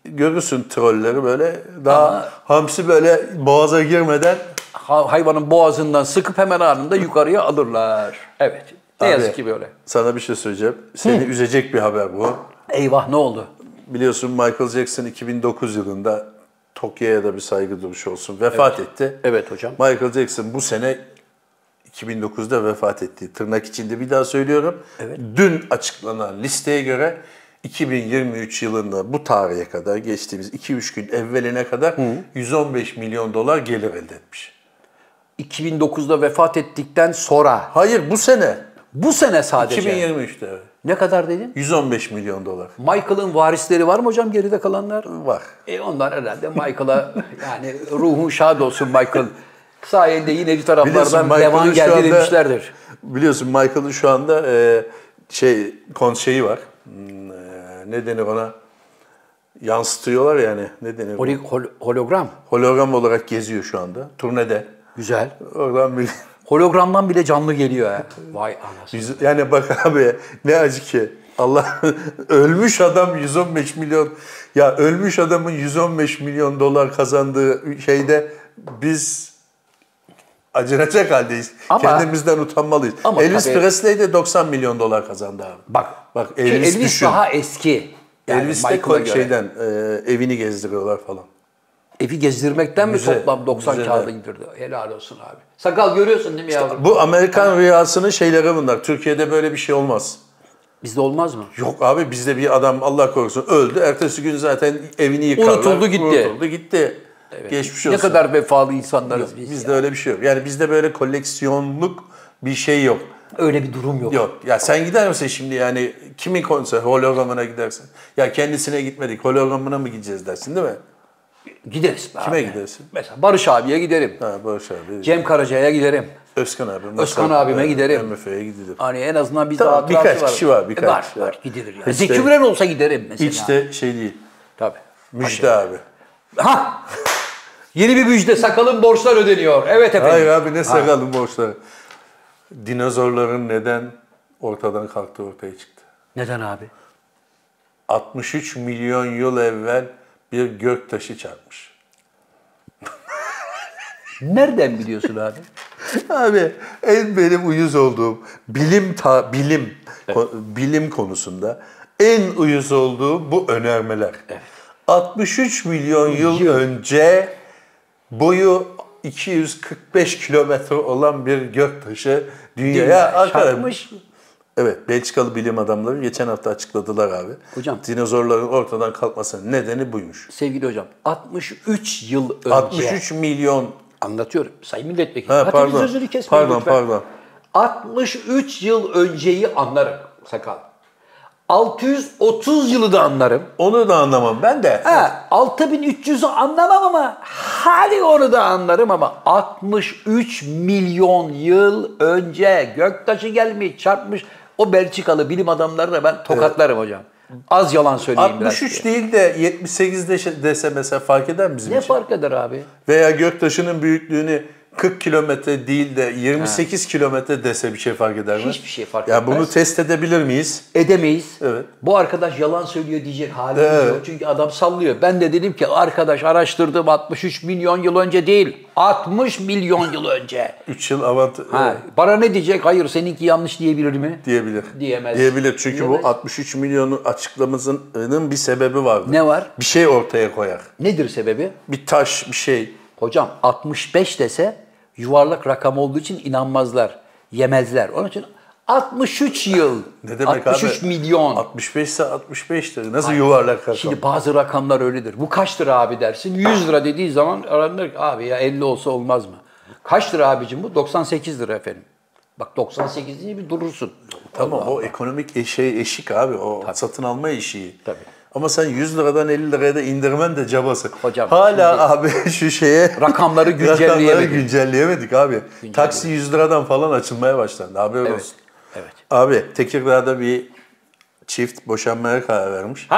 Speaker 2: görürsün trolleri böyle. Daha hamsi böyle boğaza girmeden
Speaker 3: Ha- hayvanın boğazından sıkıp hemen anında yukarıya alırlar. Evet. Ne
Speaker 2: Abi,
Speaker 3: yazık ki böyle.
Speaker 2: sana bir şey söyleyeceğim. Seni üzecek bir haber bu.
Speaker 3: Eyvah ne oldu?
Speaker 2: Biliyorsun Michael Jackson 2009 yılında Tokyo'ya da bir saygı duruşu olsun vefat etti.
Speaker 3: Evet hocam.
Speaker 2: Michael Jackson bu sene 2009'da vefat etti. Tırnak içinde bir daha söylüyorum. Dün açıklanan listeye göre 2023 yılında bu tarihe kadar geçtiğimiz 2-3 gün evveline kadar 115 milyon dolar gelir elde etmiş.
Speaker 3: 2009'da vefat ettikten sonra
Speaker 2: Hayır bu sene
Speaker 3: bu sene sadece
Speaker 2: 2023'te evet.
Speaker 3: ne kadar dedin?
Speaker 2: 115 milyon dolar
Speaker 3: Michael'ın varisleri var mı hocam geride kalanlar?
Speaker 2: var.
Speaker 3: E onlar herhalde *laughs* Michael'a yani ruhun şad olsun Michael. Sayende yine bir
Speaker 2: Biliyorsun
Speaker 3: taraflardan
Speaker 2: Michael'ın
Speaker 3: devam
Speaker 2: şu
Speaker 3: geldi
Speaker 2: anda-
Speaker 3: demişlerdir.
Speaker 2: Biliyorsun Michael'ın şu anda e, şey kon şeyi var. Hmm, e, ne denir ona? Yansıtıyorlar yani. Ne denir? ona?
Speaker 3: Hol- hol- hologram.
Speaker 2: Hologram olarak geziyor şu anda. Turnede.
Speaker 3: Güzel.
Speaker 2: Oradan bir... *laughs*
Speaker 3: Hologramdan bile canlı geliyor ha. Vay anasını.
Speaker 2: yüz- Yani bak abi ne acı ki. Allah *laughs* ölmüş adam 115 milyon ya ölmüş adamın 115 milyon dolar kazandığı şeyde biz acınacak haldeyiz.
Speaker 3: Ama-
Speaker 2: Kendimizden utanmalıyız.
Speaker 3: Ama
Speaker 2: Elvis
Speaker 3: tabii-
Speaker 2: Presley de 90 milyon dolar kazandı abi.
Speaker 3: Bak,
Speaker 2: Bak
Speaker 3: ki
Speaker 2: Elvis, düşün.
Speaker 3: daha eski. Yani
Speaker 2: Elvis de
Speaker 3: Michael'a
Speaker 2: ko-
Speaker 3: göre.
Speaker 2: şeyden e, evini gezdiriyorlar falan.
Speaker 3: Evi gezdirmekten
Speaker 2: Müze,
Speaker 3: mi toplam 90
Speaker 2: müzeler.
Speaker 3: kağıda indirdi? Helal olsun abi. Sakal görüyorsun değil mi yavrum?
Speaker 2: Bu Amerikan rüyasının şeyleri bunlar. Türkiye'de böyle bir şey olmaz.
Speaker 3: Bizde olmaz mı?
Speaker 2: Yok abi bizde bir adam Allah korusun öldü. Ertesi gün zaten evini yıkarlar.
Speaker 3: Unutuldu gitti.
Speaker 2: Unutuldu gitti. Geçmiş
Speaker 3: Ne
Speaker 2: olsun.
Speaker 3: kadar vefalı insanlarız biz.
Speaker 2: Bizde öyle bir şey yok. Yani bizde böyle koleksiyonluk bir şey yok.
Speaker 3: Öyle bir durum yok.
Speaker 2: Yok. Ya sen gider misin şimdi yani kimin konser hologramına gidersin? Ya kendisine gitmedik. Hologramına mı gideceğiz dersin değil mi?
Speaker 3: Gideriz be
Speaker 2: Kime
Speaker 3: abi.
Speaker 2: gidersin?
Speaker 3: Mesela Barış abiye giderim.
Speaker 2: Ha Barış abi.
Speaker 3: Cem Karaca'ya giderim.
Speaker 2: Özkan abi. e,
Speaker 3: Özkan abime giderim.
Speaker 2: MF'ye gidilir.
Speaker 3: Hani en azından bir
Speaker 2: Tamam,
Speaker 3: daha hatırası
Speaker 2: birkaç kişi var, birkaç
Speaker 3: var,
Speaker 2: kişi
Speaker 3: var.
Speaker 2: var.
Speaker 3: Gidilir yani.
Speaker 2: Hiç
Speaker 3: Zeki
Speaker 2: de-
Speaker 3: Müren olsa giderim mesela.
Speaker 2: Hiç de şey değil.
Speaker 3: Tabii.
Speaker 2: Müjde abi.
Speaker 3: Ha! Yeni bir müjde. Sakalın borçlar ödeniyor. Evet efendim.
Speaker 2: Hayır abi ne sakalın borçları. Dinozorların neden ortadan kalktı ortaya çıktı.
Speaker 3: Neden abi?
Speaker 2: 63 milyon yıl evvel bir gök taşı çarpmış.
Speaker 3: Nereden biliyorsun *laughs* abi?
Speaker 2: Abi en benim uyuz olduğum bilim ta, bilim ko- bilim konusunda en uyuz olduğum bu önermeler. 63 milyon yıl önce boyu 245 kilometre olan bir göktaşı dünyaya
Speaker 3: Dünyaya
Speaker 2: akarmış.
Speaker 3: çarpmış.
Speaker 2: Evet, Belçikalı bilim adamları geçen hafta açıkladılar abi.
Speaker 3: Hocam.
Speaker 2: Dinozorların ortadan kalkmasının nedeni buymuş.
Speaker 3: Sevgili hocam 63 yıl önce. Şey,
Speaker 2: 63 milyon
Speaker 3: Anlatıyorum. Sayın milletvekili.
Speaker 2: Ha,
Speaker 3: Hadi
Speaker 2: pardon.
Speaker 3: sözünü kesmeyin
Speaker 2: Pardon,
Speaker 3: lütfen.
Speaker 2: pardon.
Speaker 3: 63 yıl önceyi anlarım sakal. 630 yılı da anlarım.
Speaker 2: onu da anlamam ben de.
Speaker 3: Ha, 6300'ü anlamam ama hadi onu da anlarım ama 63 milyon yıl önce göktaşı gelmiş çarpmış o Belçikalı bilim adamları da ben tokatlarım hocam. Az yalan söyleyeyim biraz.
Speaker 2: 63 değil de 78 de- dese mesela fark eder mi bizim
Speaker 3: Ne
Speaker 2: için?
Speaker 3: fark eder abi?
Speaker 2: Veya göktaşının büyüklüğünü 40 kilometre değil de 28 kilometre dese bir şey fark eder mi?
Speaker 3: Hiçbir şey fark
Speaker 2: ya
Speaker 3: etmez.
Speaker 2: bunu test edebilir miyiz?
Speaker 3: Edemeyiz.
Speaker 2: Evet.
Speaker 3: Bu arkadaş yalan söylüyor diyecek halimiz
Speaker 2: Evet.
Speaker 3: yok. Çünkü adam sallıyor. Ben de dedim ki arkadaş araştırdım 63 milyon yıl önce değil. 60 milyon yıl önce.
Speaker 2: 3 yıl avant
Speaker 3: Ha, bana ne diyecek? Hayır seninki yanlış diyebilir mi?
Speaker 2: diyebilir.
Speaker 3: Diyemez.
Speaker 2: Diyebilir çünkü
Speaker 3: Diyemez.
Speaker 2: bu 63 milyonu açıklamasının bir sebebi vardır.
Speaker 3: Ne var?
Speaker 2: Bir şey ortaya koyar.
Speaker 3: Nedir sebebi?
Speaker 2: Bir taş, bir şey.
Speaker 3: Hocam 65 dese yuvarlak rakam olduğu için inanmazlar, yemezler. Onun için 63 yıl,
Speaker 2: Ne demek
Speaker 3: 63
Speaker 2: abi?
Speaker 3: milyon.
Speaker 2: 65 ise 65'tir. Nasıl yuvarlak rakam?
Speaker 3: Şimdi bazı rakamlar öyledir. Bu kaç lira abi dersin? 100 lira dediği zaman aranır ki, abi ya 50 olsa olmaz mı? Kaç lira abicim bu? 98 lira efendim. Bak 98 diye bir durursun.
Speaker 2: Tamam o ekonomik e- şey eşik abi o satın alma eşiği.
Speaker 3: Tabii.
Speaker 2: Ama sen 100 liradan 50 liraya da indirmen de cabası.
Speaker 3: Hocam,
Speaker 2: Hala abi *laughs* şu şeye
Speaker 3: Rakamları
Speaker 2: rakamları
Speaker 3: güncelleyemedik.
Speaker 2: güncelleyemedik abi. Taksi 100 liradan falan açılmaya başlandı. Haberin olsun.
Speaker 3: Evet.
Speaker 2: Abi Tekirdağ'da bir çift boşanmaya karar vermiş.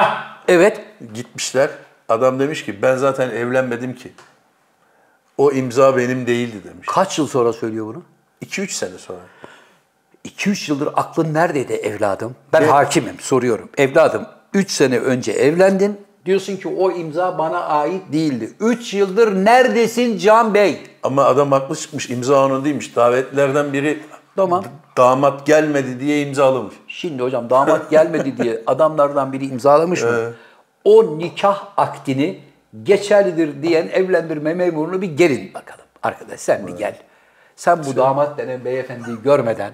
Speaker 3: Evet.
Speaker 2: Gitmişler. Adam demiş ki ben zaten evlenmedim ki. O imza benim değildi demiş.
Speaker 3: Kaç yıl sonra söylüyor bunu?
Speaker 2: 2-3 sene sonra.
Speaker 3: 2-3 yıldır aklın neredeydi evladım? Ben hakimim soruyorum. Evladım 3 sene önce evlendin. Diyorsun ki o imza bana ait değildi. 3 yıldır neredesin Can Bey?
Speaker 2: Ama adam haklı çıkmış. imza onun değilmiş. Davetlerden biri
Speaker 3: Tamam.
Speaker 2: d- damat gelmedi diye imzalamış.
Speaker 3: Şimdi hocam damat gelmedi diye adamlardan biri imzalamış mı? o nikah akdini geçerlidir diyen evlendirme memurunu bir gelin bakalım. Arkadaş sen bir gel. Sen bu damat denen beyefendiyi görmeden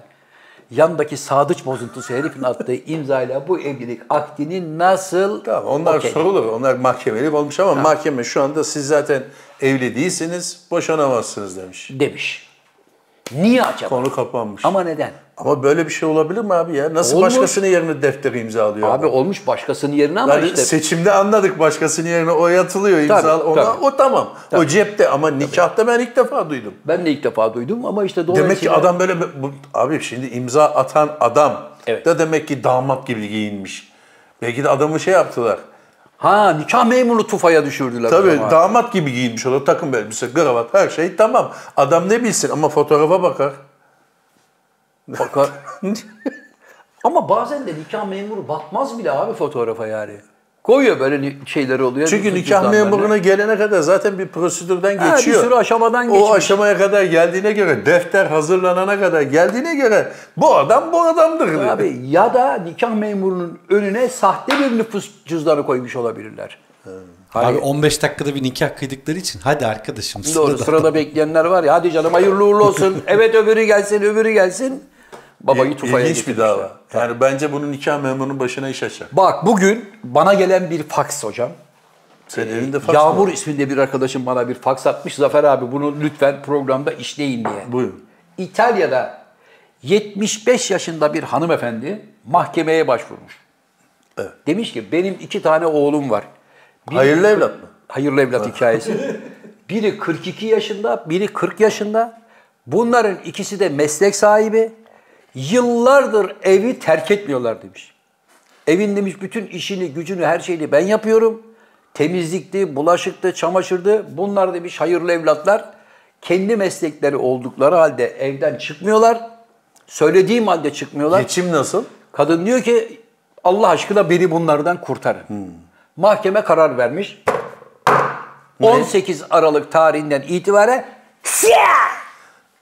Speaker 3: yandaki sadıç bozuntusu herifin attığı imzayla bu evlilik akdini nasıl
Speaker 2: Tamam onlar
Speaker 3: Okey.
Speaker 2: sorulur. Onlar mahkemelik olmuş ama mahkeme şu anda siz zaten evli değilsiniz, boşanamazsınız demiş.
Speaker 3: demiş. Niye acaba?
Speaker 2: Konu kapanmış. Ama,
Speaker 3: Ama neden?
Speaker 2: böyle bir şey olabilir mi abi ya? Nasıl
Speaker 3: Olmuş.
Speaker 2: başkasının yerine defteri imzalıyor?
Speaker 3: Abi olmuş başkasının yerine ama
Speaker 2: Yani
Speaker 3: işte.
Speaker 2: seçimde anladık başkasının yerine o yatılıyor imza
Speaker 3: Tabii,
Speaker 2: ona
Speaker 3: tabii.
Speaker 2: o tamam. O cepte ama nikahta ben ilk defa duydum.
Speaker 3: ben de ilk defa duydum ama işte dolayısıyla.
Speaker 2: Demek ki adam böyle bu, abi şimdi imza atan adam
Speaker 3: Evet.
Speaker 2: da demek ki damat gibi giyinmiş. Belki de adamı şey yaptılar.
Speaker 3: Ha nikah memuru tufaya düşürdüler. o
Speaker 2: Tabii
Speaker 3: zaman.
Speaker 2: damat gibi giyinmiş olur. Takım elbise, kravat her şey tamam. Adam ne bilsin ama fotoğrafa bakar.
Speaker 3: *laughs* Bakar. Ama bazen de nikah memuru bakmaz bile abi fotoğrafa yani. Koyuyor böyle ni- şeyleri oluyor.
Speaker 2: Çünkü
Speaker 3: bütün
Speaker 2: nikah
Speaker 3: cüzdanlarını.
Speaker 2: memuruna gelene kadar zaten bir prosedürden
Speaker 3: Ha,
Speaker 2: geçiyor.
Speaker 3: bir sürü aşamadan
Speaker 2: o
Speaker 3: geçmiş.
Speaker 2: aşamaya kadar geldiğine göre, defter hazırlanana kadar geldiğine göre bu adam bu adamdır.
Speaker 3: Abi ya da nikah memurunun önüne sahte bir nüfus cüzdanı koymuş olabilirler.
Speaker 4: Abi 15 dakikada bir nikah kıydıkları için hadi arkadaşım
Speaker 3: Doğru
Speaker 4: sırada.
Speaker 3: sırada bekleyenler var ya hadi canım hayırlı uğurlu
Speaker 2: *laughs*
Speaker 3: olsun. evet öbürü gelsin öbürü gelsin. Babayı tufaya
Speaker 2: İlginç bir
Speaker 3: getirmişler.
Speaker 2: dava. Yani bence bunun nikah memurunun başına iş açar.
Speaker 3: Bak bugün bana gelen bir faks hocam. E,
Speaker 2: Senin elinde faks mı
Speaker 3: Ee, Yağmur
Speaker 2: var?
Speaker 3: isminde bir arkadaşım bana bir faks atmış. Zafer abi bunu lütfen programda işleyin diye.
Speaker 2: Buyurun.
Speaker 3: İtalya'da 75 yaşında bir hanımefendi mahkemeye başvurmuş.
Speaker 2: Evet.
Speaker 3: Demiş ki benim iki tane oğlum var. Biri-
Speaker 2: Hayırlı evlat mı?
Speaker 3: Hayırlı evlat hikayesi. Biri 42 yaşında, biri 40 yaşında. Bunların ikisi de meslek sahibi. Yıllardır evi terk etmiyorlar demiş. Evin demiş bütün işini, gücünü, her şeyini ben yapıyorum. Temizlikti, bulaşıktı, çamaşırdı. Bunlar demiş hayırlı evlatlar. Kendi meslekleri oldukları halde evden çıkmıyorlar. Söylediğim halde çıkmıyorlar.
Speaker 2: Geçim nasıl?
Speaker 3: Kadın diyor ki Allah aşkına beni bunlardan kurtarın.
Speaker 2: Hmm.
Speaker 3: Mahkeme karar vermiş. 18 Aralık tarihinden itibaren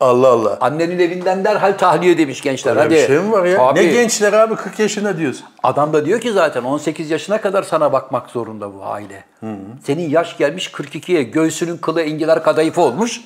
Speaker 2: Allah Allah.
Speaker 3: annenin evinden derhal tahliye demiş gençler.
Speaker 2: Öyle
Speaker 3: Hadi.
Speaker 2: bir şey mi var ya?
Speaker 3: Abi,
Speaker 2: Ne gençler abi 40 yaşında diyorsun.
Speaker 3: Adam da diyor ki zaten 18 yaşına kadar sana bakmak zorunda bu aile.
Speaker 2: Hmm.
Speaker 3: Senin yaş gelmiş 42'ye, göğsünün kılı enginar kadayıfı olmuş.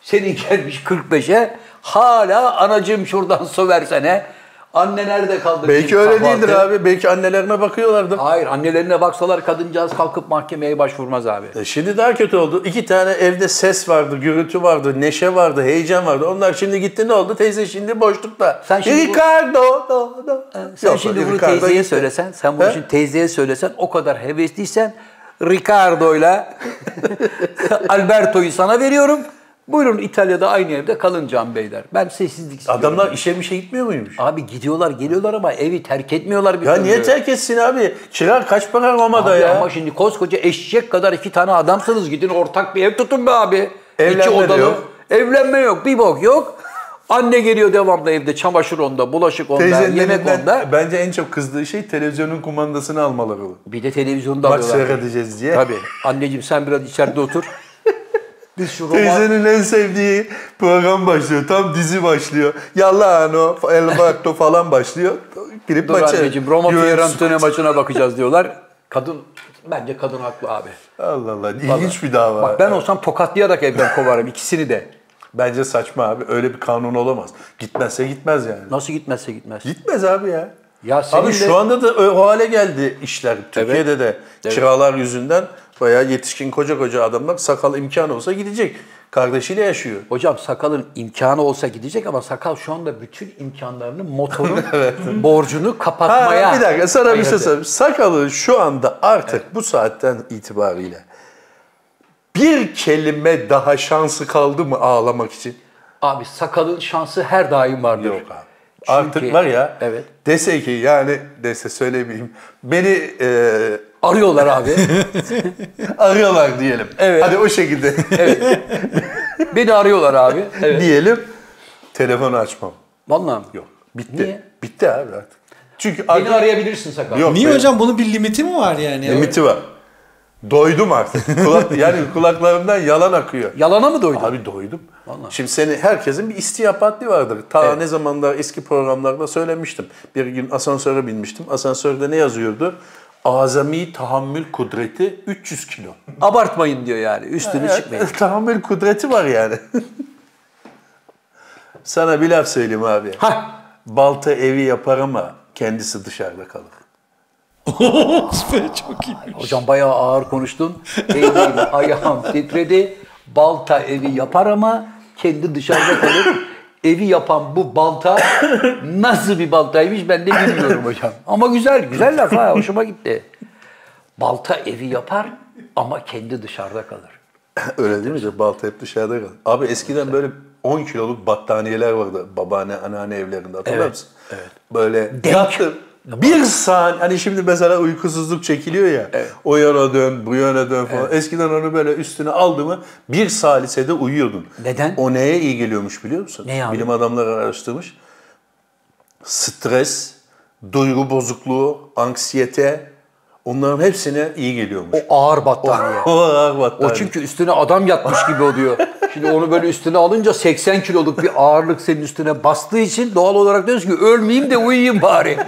Speaker 3: Senin *laughs* gelmiş 45'e, hala anacığım şuradan su versene. Anne nerede kaldı?
Speaker 2: Belki
Speaker 3: Kim
Speaker 2: öyle
Speaker 3: kahvaltı?
Speaker 2: değildir abi. Belki annelerine bakıyorlardı.
Speaker 3: Hayır annelerine baksalar kadıncağız kalkıp mahkemeye başvurmaz abi.
Speaker 2: E Şimdi daha kötü oldu. İki tane evde ses vardı, gürültü vardı, neşe vardı, heyecan vardı. Onlar şimdi gitti ne oldu? Teyze şimdi boşlukta.
Speaker 3: Sen şimdi bu-
Speaker 2: Ricardo. Do, do.
Speaker 3: Sen
Speaker 2: Yok,
Speaker 3: şimdi bunu
Speaker 2: Ricardo
Speaker 3: teyzeye
Speaker 2: gitti.
Speaker 3: söylesen, sen bunu
Speaker 2: He?
Speaker 3: şimdi teyzeye söylesen o kadar hevesliysen Ricardo'yla *laughs* Alberto'yu sana veriyorum. Buyurun İtalya'da aynı evde kalın Can Beyler. Ben sessizlik istiyorum.
Speaker 2: Adamlar işe bir şey gitmiyor muymuş?
Speaker 3: Abi gidiyorlar geliyorlar ama evi terk etmiyorlar. Bir
Speaker 2: Ya
Speaker 3: türlü.
Speaker 2: niye terk etsin abi? Çırar kaç para Roma'da
Speaker 3: Abi
Speaker 2: ya?
Speaker 3: Ama şimdi koskoca eşek kadar iki tane adamsınız. Gidin ortak bir ev tutun be abi.
Speaker 2: Evlenme
Speaker 3: iki
Speaker 2: de
Speaker 3: odalı.
Speaker 2: yok.
Speaker 3: Evlenme yok. Bir bok yok. Anne geliyor devamlı evde. Çamaşır onda, bulaşık onda,
Speaker 2: Teyzenin
Speaker 3: yemek
Speaker 2: elinden
Speaker 3: onda.
Speaker 2: bence en çok kızdığı şey televizyonun kumandasını almaları.
Speaker 3: Bir de televizyonda
Speaker 2: Bak
Speaker 3: alıyorlar.
Speaker 2: seyredeceğiz diye.
Speaker 3: Tabii. Anneciğim sen biraz içeride
Speaker 2: *laughs*
Speaker 3: otur. Biz şu roman-
Speaker 2: Teyzenin en sevdiği program başlıyor. Tam dizi başlıyor. Yallano, El Barto falan başlıyor. Girip
Speaker 3: Dur
Speaker 2: maça.
Speaker 3: anneciğim Roma
Speaker 2: Juventus-
Speaker 3: Fiorentina maçına bakacağız diyorlar. Kadın bence kadın haklı abi.
Speaker 2: Allah Allah. İlginç bir dava.
Speaker 3: Bak ben olsam tokatlayarak evden kovarım ikisini de.
Speaker 2: Bence saçma abi. Öyle bir kanun olamaz. Gitmezse gitmez yani.
Speaker 3: Nasıl gitmezse gitmez.
Speaker 2: Gitmez abi ya.
Speaker 3: Ya senin
Speaker 2: abi
Speaker 3: de-
Speaker 2: şu anda da o hale geldi işler. Türkiye'de de kiralar yüzünden bayağı yetişkin koca koca adamlar sakal imkan olsa gidecek. Kardeşiyle yaşıyor.
Speaker 3: Hocam sakalın imkanı olsa gidecek ama sakal şu anda bütün imkanlarını
Speaker 2: *laughs*
Speaker 3: motorun borcunu kapatmaya.
Speaker 2: Ha, bir dakika sana bir şey
Speaker 3: ayırdı.
Speaker 2: söyleyeyim. Sakalı şu anda artık bu saatten itibariyle bir kelime daha şansı kaldı mı ağlamak için?
Speaker 3: Abi sakalın şansı her daim vardır.
Speaker 2: Yok abi. Artık var ya
Speaker 3: Evet.
Speaker 2: dese ki yani dese söylemeyeyim. Beni e,
Speaker 3: Arıyorlar
Speaker 2: *laughs*
Speaker 3: abi.
Speaker 2: arıyorlar diyelim.
Speaker 3: Evet.
Speaker 2: Hadi o şekilde
Speaker 3: Beni arıyorlar abi. *laughs* Evet.
Speaker 2: *laughs* diyelim. Telefonu açmam.
Speaker 3: Vallahi
Speaker 2: Yok. Bitti.
Speaker 3: Niye?
Speaker 2: Bitti abi artık. Çünkü
Speaker 3: Beni
Speaker 2: artık
Speaker 3: arayabilirsin sakal.
Speaker 2: Yok
Speaker 4: Niye
Speaker 2: benim.
Speaker 4: hocam bunun bir limiti mi var yani? *laughs*
Speaker 2: limiti var. Doydum artık. Kulak, yani kulaklarımdan yalan akıyor.
Speaker 3: Yalana mı doydun?
Speaker 2: Abi doydum. Şimdi seni herkesin bir istiyap haddi vardır. Ta ne zamanlar eski programlarda söylemiştim. Bir gün asansöre binmiştim. Asansörde ne yazıyordu? Azami tahammül kudreti 300 kilo.
Speaker 3: Abartmayın diyor yani. Üstünü çıkmayın.
Speaker 2: *laughs* tahammül kudreti var yani. Sana bir laf söyleyeyim abi.
Speaker 3: Hah.
Speaker 2: Balta evi yapar ama kendisi dışarıda kalır.
Speaker 4: o? Süper çok iyi.
Speaker 3: Hocam bayağı ağır konuştun. Elim, ayağım titredi. Balta evi yapar ama kendi dışarıda kalır. evi yapan bu balta nasıl bir baltaymış ben de bilmiyorum hocam. Ama güzel, güzel laf ha. Hoşuma gitti. Balta evi yapar ama kendi dışarıda kalır.
Speaker 2: *coughs* Öyle değil mi? Balta hep dışarıda kalır. Abi eskiden böyle 10 kiloluk battaniyeler vardı babaanne, anneanne evlerinde hatırlar
Speaker 3: Evet,
Speaker 2: mısın? Evet. Böyle yattım. Bir saniye, hani şimdi mesela uykusuzluk çekiliyor ya, o yana dön, bu yana dön falan. Eskiden onu böyle üstüne aldı mı bir salisede uyuyordun.
Speaker 3: Neden?
Speaker 2: O neye iyi geliyormuş biliyor musun?
Speaker 3: Ne abi?
Speaker 2: Bilim adamları araştırmış. Stres, duygu bozukluğu, anksiyete onların hepsine iyi geliyormuş.
Speaker 3: O ağır battaniye.
Speaker 2: *laughs* O ağır battaniye.
Speaker 3: O çünkü üstüne adam yatmış gibi oluyor. Şimdi onu böyle üstüne alınca 80 kiloluk bir ağırlık senin üstüne bastığı için doğal olarak diyorsun ki ölmeyeyim de uyuyayım bari.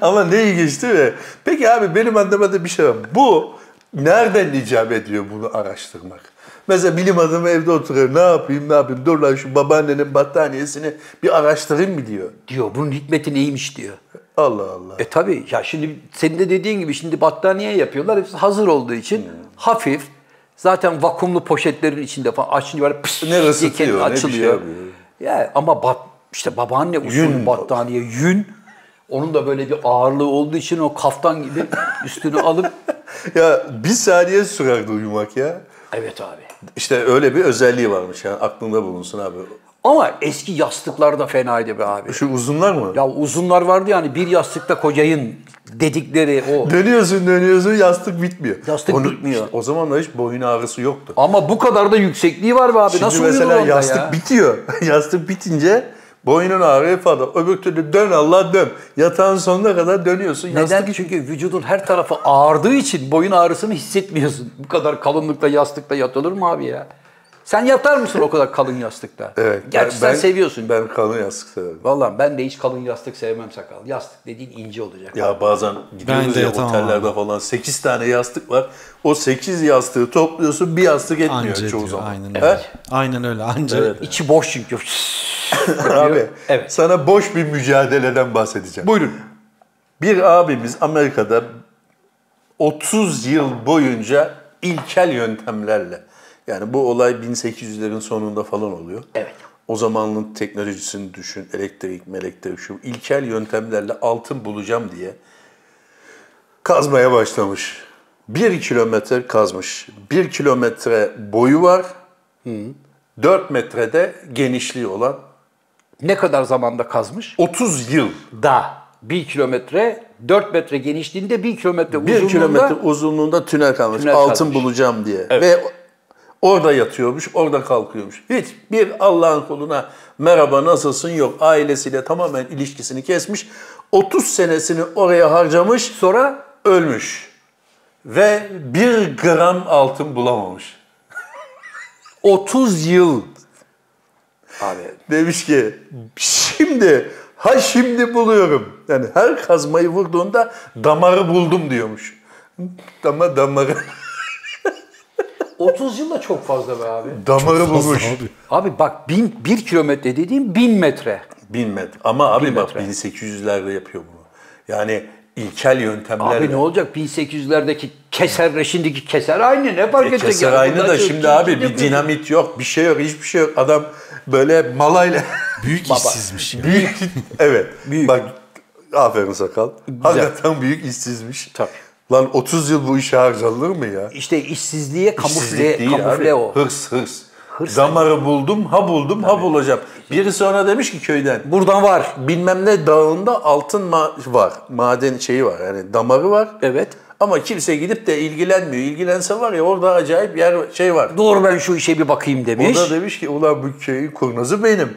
Speaker 2: Ama ne ilginç değil mi? Peki abi benim anlamadığım bir şey var. Bu nereden icap ediyor bunu araştırmak? Mesela bilim adamı evde oturuyor. Ne yapayım ne yapayım? Dur lan şu babaannenin battaniyesini bir araştırayım mı diyor.
Speaker 3: Diyor bunun hikmeti neymiş diyor.
Speaker 2: Allah Allah.
Speaker 3: E tabii ya şimdi senin de dediğin gibi şimdi battaniye yapıyorlar. Hepsi hazır olduğu için
Speaker 2: Hmm.
Speaker 3: hafif. Zaten vakumlu poşetlerin içinde falan açınca böyle pıs
Speaker 2: Ne
Speaker 3: diye
Speaker 2: ısıtıyor,
Speaker 3: kendi
Speaker 2: ne bir şey
Speaker 3: açılıyor.
Speaker 2: yapıyor.
Speaker 3: ya ama bat, işte babaanne usulü
Speaker 2: Yün.
Speaker 3: battaniye yün. Onun da böyle bir ağırlığı olduğu için o kaftan gibi üstünü alıp *laughs*
Speaker 2: Ya bir saniye sürerdi uyumak ya.
Speaker 3: Evet abi.
Speaker 2: İşte öyle bir özelliği varmış yani aklında bulunsun abi.
Speaker 3: Ama eski yastıklar da fenaydı be abi.
Speaker 2: Şu uzunlar mı?
Speaker 3: Ya uzunlar vardı yani bir yastıkta kocayın dedikleri
Speaker 2: *laughs*
Speaker 3: o.
Speaker 2: Dönüyorsun dönüyorsun yastık bitmiyor.
Speaker 3: Yastık bitmiyor.
Speaker 2: işte o zamanlar hiç boyun ağrısı yoktu.
Speaker 3: Ama bu kadar da yüksekliği var be abi.
Speaker 2: Şimdi
Speaker 3: Nasıl
Speaker 2: mesela
Speaker 3: uyudun onda
Speaker 2: yastık
Speaker 3: ya?
Speaker 2: bitiyor. *laughs* yastık bitince boynun ağrıyor falan. Öbür türlü dön Allah dön. Yatağın sonuna kadar dönüyorsun.
Speaker 3: Neden?
Speaker 2: Yastık
Speaker 3: Çünkü vücudun her tarafı ağırdığı için boyun ağrısını hissetmiyorsun. Bu kadar kalınlıkta yastıkta yatılır mı abi ya? Sen yatar mısın o kadar kalın yastıkta?
Speaker 2: *laughs* Evet.
Speaker 3: Gerçi
Speaker 2: ben-
Speaker 3: sen
Speaker 2: ben-
Speaker 3: seviyorsun.
Speaker 2: Ben kalın yastık severim.
Speaker 3: Vallahi ben de hiç kalın yastık sevmem sakal. Yastık dediğin ince olacak.
Speaker 2: Ya bazen gidiyoruz
Speaker 4: Ben de
Speaker 2: ya
Speaker 4: yatamam
Speaker 2: otellerde falan 8 tane yastık var. O 8 yastığı topluyorsun bir yastık etmiyor
Speaker 4: Anca
Speaker 2: çoğu
Speaker 4: diyor,
Speaker 2: zaman.
Speaker 4: Aynen
Speaker 2: He?
Speaker 4: öyle. Aynen öyle. Anca.
Speaker 3: İçi boş
Speaker 2: *laughs*
Speaker 3: çünkü.
Speaker 2: Abi
Speaker 3: Evet.
Speaker 2: sana boş bir mücadeleden bahsedeceğim.
Speaker 3: Buyurun.
Speaker 2: Bir abimiz Amerika'da 30 yıl boyunca ilkel yöntemlerle yani bu olay 1800'lerin sonunda falan oluyor.
Speaker 3: Evet.
Speaker 2: O zamanın teknolojisini düşün, elektrik, melektrik, şu ilkel yöntemlerle altın bulacağım diye kazmaya başlamış. Bir kilometre kazmış. Bir kilometre boyu var. 4 metrede genişliği olan
Speaker 3: Ne kadar zamanda kazmış?
Speaker 2: 30 yıl.
Speaker 3: Da. 1 kilometre, 4 metre genişliğinde 1 kilometre
Speaker 2: Bir
Speaker 3: uzunluğunda.
Speaker 2: kilometre uzunluğunda tünel kalmış.
Speaker 3: Tünel
Speaker 2: altın
Speaker 3: kalmış.
Speaker 2: bulacağım diye. Ve orada yatıyormuş, orada kalkıyormuş. Hiçbir Allah'ın kuluna merhaba nasılsın yok. Ailesiyle tamamen ilişkisini kesmiş. 30 senesini oraya harcamış. Sonra ölmüş. Ve bir gram
Speaker 3: *laughs*
Speaker 2: altın bulamamış.
Speaker 3: 30 yıl. Abi
Speaker 2: Demiş ki şimdi ha şimdi buluyorum. Yani her kazmayı vurduğunda damarı buldum diyormuş. Dama damarı
Speaker 3: 30 yıl da çok fazla be abi.
Speaker 2: damarı bulmuş.
Speaker 4: Abi.
Speaker 3: Abi bak bin, bir kilometre dediğim bin metre.
Speaker 2: Bin metre. Ama abi bak
Speaker 3: metre.
Speaker 2: 1800'lerde yapıyor bunu. Yani ilkel yöntemlerle.
Speaker 3: Abi ne olacak 1800'lerdeki keserle şimdiki keser aynı ne fark
Speaker 2: E,
Speaker 3: edecek? ya?
Speaker 2: keser aynı
Speaker 3: Bunlar
Speaker 2: da
Speaker 3: çok-
Speaker 2: şimdi
Speaker 3: çok-
Speaker 2: abi
Speaker 3: çok-
Speaker 2: bir dinamit yok, bir şey yok, hiçbir şey yok. Adam böyle malayla
Speaker 4: Büyük işsizmiş. ya.
Speaker 2: büyük evet.
Speaker 3: Büyük.
Speaker 2: Bak aferin sakal. Hakikaten büyük işsizmiş. Tabii. Lan 30 yıl bu işe harcanılır mı ya?
Speaker 3: İşte işsizliğe kamufle,
Speaker 2: İşsizlik değil
Speaker 3: kamufle
Speaker 2: abi.
Speaker 3: o.
Speaker 2: Hırs, hırs. Damarı buldum, ha buldum, ha bulacağım. Biri sonra demiş ki köyden,
Speaker 3: Buradan var.
Speaker 2: bilmem ne dağında altın ma- var. Maden şeyi var yani damarı var.
Speaker 3: Evet.
Speaker 2: Ama kimse gidip de ilgilenmiyor. İlgilense var ya orada acayip yer şey var.
Speaker 3: Doğru ben şu işe bir bakayım demiş.
Speaker 2: O da demiş ki ulan bu köyün kurnazı benim.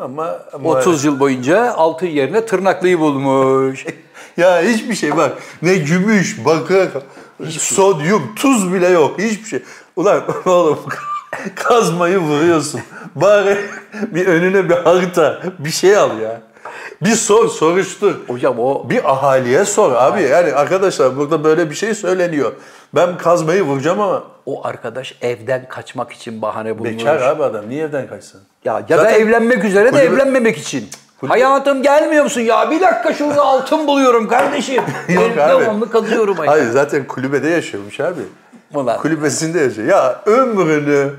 Speaker 2: Ama
Speaker 3: 30 yıl boyunca altın yerine tırnaklıyı
Speaker 2: *laughs*
Speaker 3: bulmuş.
Speaker 2: ya hiçbir şey bak. Ne gümüş, bakır,
Speaker 3: şey.
Speaker 2: sodyum, tuz bile yok. Hiçbir şey. Ulan *laughs* oğlum kazmayı vuruyorsun. Bari bir önüne bir harita, bir şey al ya. Bir sor, soruştur.
Speaker 3: Hocam o
Speaker 2: Bir ahaliye sor abi. Yani arkadaşlar burada böyle bir şey söyleniyor. Ben kazmayı vuracağım ama
Speaker 3: o arkadaş evden kaçmak için bahane bulmuş.
Speaker 2: bekar abi adam. Niye evden kaçsın?
Speaker 3: Ya ya da
Speaker 2: Zaten
Speaker 3: evlenmek üzere de
Speaker 2: kulübe-
Speaker 3: evlenmemek için. Hayatım gelmiyor musun ya? Bir dakika şurada altın buluyorum kardeşim.
Speaker 2: *laughs* Yok abi.
Speaker 3: Devamlı kazıyorum ayı.
Speaker 2: Hayır zaten kulübede yaşıyormuş abi.
Speaker 3: Ulan.
Speaker 2: Kulübesinde yaşıyor. Ya ömrünü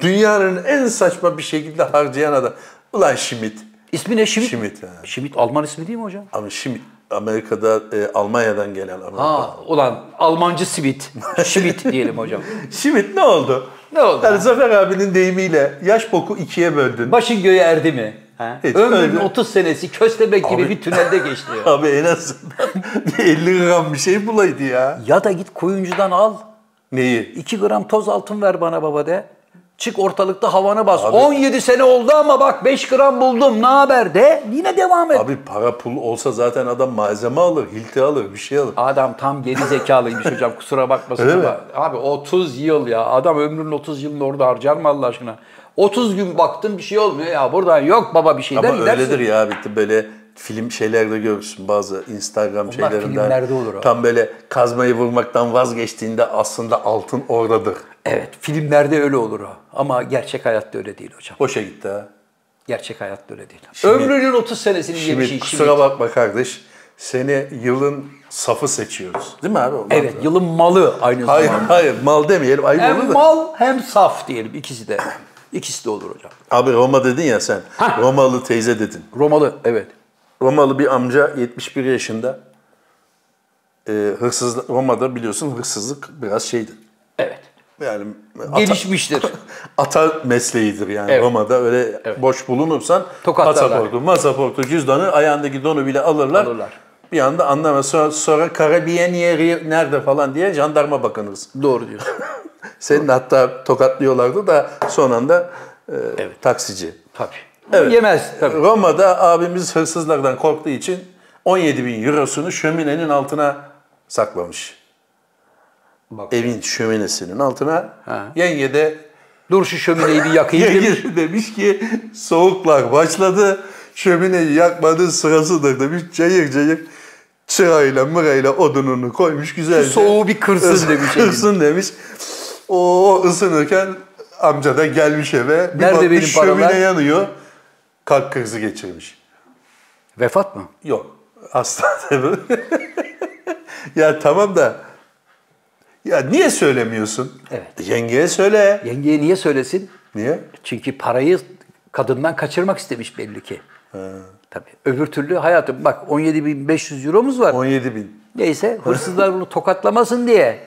Speaker 2: dünyanın en saçma bir şekilde harcayan adam. Ulan Şimit.
Speaker 3: İsmi ne? Şimit. Şimit.
Speaker 2: Şimit ha.
Speaker 3: Alman ismi değil mi hocam?
Speaker 2: Ama Şimit Amerika'da e, Almanya'dan gelen Amerika.
Speaker 3: Ha, ulan Almancı Simit. *laughs* Şimit diyelim hocam.
Speaker 2: Şimit ne oldu?
Speaker 3: Ne oldu?
Speaker 2: Yani Zafer abinin deyimiyle yaş boku ikiye
Speaker 3: *laughs*
Speaker 2: böldün.
Speaker 3: Başın göğe erdi mi? Ha?
Speaker 2: Hiç
Speaker 3: Ömrünün
Speaker 2: öyle.
Speaker 3: 30 senesi köstebek gibi bir tünelde geçti. ya.
Speaker 2: Abi en *laughs* azından bir 50 gram bir şey bulaydı ya.
Speaker 3: *laughs* ya da git koyuncudan al.
Speaker 2: Neyi?
Speaker 3: 2 gram toz altın ver bana baba de. Çık ortalıkta havana bas. 17 sene oldu ama bak 5 gram buldum. Ne haber de. Yine devam et.
Speaker 2: Abi para pul olsa zaten adam malzeme alır, hilti alır, bir şey alır.
Speaker 3: Adam tam geri zekalıymış hocam kusura bakmasın
Speaker 2: Öyle
Speaker 3: ama. Abi 30 yıl ya. Adam ömrünün 30 yılını orada harcar mı Allah aşkına? 30 gün baktın bir şey olmuyor ya. Buradan yok baba bir şey der
Speaker 2: Ama
Speaker 3: gidersin.
Speaker 2: öyledir ya abi böyle film şeylerde görürsün bazı Instagram şeylerinde.
Speaker 3: filmlerde olur abi.
Speaker 2: Tam böyle kazmayı vurmaktan vazgeçtiğinde aslında altın oradadır.
Speaker 3: Evet filmlerde öyle olur o. Ama gerçek hayatta öyle değil hocam.
Speaker 2: Boşa gitti ha.
Speaker 3: Gerçek hayatta öyle değil.
Speaker 2: Şimdi-
Speaker 3: ömrünün 30 senesini
Speaker 2: Şimdi
Speaker 3: yemiş şey.
Speaker 2: kusura bakma kardeş. Seni yılın safı seçiyoruz. Değil mi abi? Olmaz
Speaker 3: Evet
Speaker 2: mı?
Speaker 3: yılın malı aynı
Speaker 2: Hayır
Speaker 3: zamanda.
Speaker 2: hayır mal demeyelim ayıp
Speaker 3: Hem
Speaker 2: olur da.
Speaker 3: mal hem saf diyelim ikisi de. *clears throat* İkisi de olur hocam.
Speaker 2: Abi Roma dedin ya sen. Romalı teyze dedin.
Speaker 3: Romalı evet.
Speaker 2: Romalı bir amca 71 yaşında. e, Ee, hırsız Roma'da biliyorsun hırsızlık biraz şeydir.
Speaker 3: Evet.
Speaker 2: yani ata- *laughs*
Speaker 3: Gelişmiştir.
Speaker 2: ata mesleğidir yani
Speaker 3: Evet.
Speaker 2: Roma'da öyle boş bulunursan
Speaker 3: Tokatlarlar.
Speaker 2: pasaportu, masaportu, cüzdanı, ayağındaki donu bile alırlar.
Speaker 3: Alırlar.
Speaker 2: Bir anda anlamaz. Sonra, sonra Karabiyenieri nerede falan diye jandarma bakınız.
Speaker 3: Doğru diyorsun.
Speaker 2: Senin hatta tokatlıyorlardı da son anda e, taksici.
Speaker 3: Tabii.
Speaker 2: Evet.
Speaker 3: Yemez tabii.
Speaker 2: Roma'da abimiz hırsızlardan korktuğu için 17 bin eurosunu şöminenin altına saklamış. Evin şöminesinin altına. Yenge de
Speaker 3: Dur şu şömineyi bir yakayım. demiş.
Speaker 2: yenge *laughs* demiş ki soğuklar başladı. Şömineyi yakmanın sırasıdır demiş. Cayır cayır çırayla mırayla odununu koymuş güzelce.
Speaker 3: Soğuğu bir kırsın
Speaker 2: *laughs*
Speaker 3: demiş. elini.
Speaker 2: Kırsın demiş. O ısınırken amca da gelmiş eve. Bir
Speaker 3: Nerede
Speaker 2: bakmış
Speaker 3: benim
Speaker 2: şömine
Speaker 3: paralar?
Speaker 2: yanıyor. Kalp krizi geçirmiş.
Speaker 3: Vefat mı?
Speaker 2: Yok. *laughs* Hastanede mi? ya tamam da ya niye söylemiyorsun?
Speaker 3: Evet.
Speaker 2: Yengeye söyle.
Speaker 3: Yengeye niye söylesin?
Speaker 2: Niye?
Speaker 3: Çünkü parayı kadından kaçırmak istemiş belli ki. Tabii. Öbür türlü hayatım bak 17.500 euromuz var.
Speaker 2: 17 bin.
Speaker 3: Neyse hırsızlar bunu tokatlamasın diye.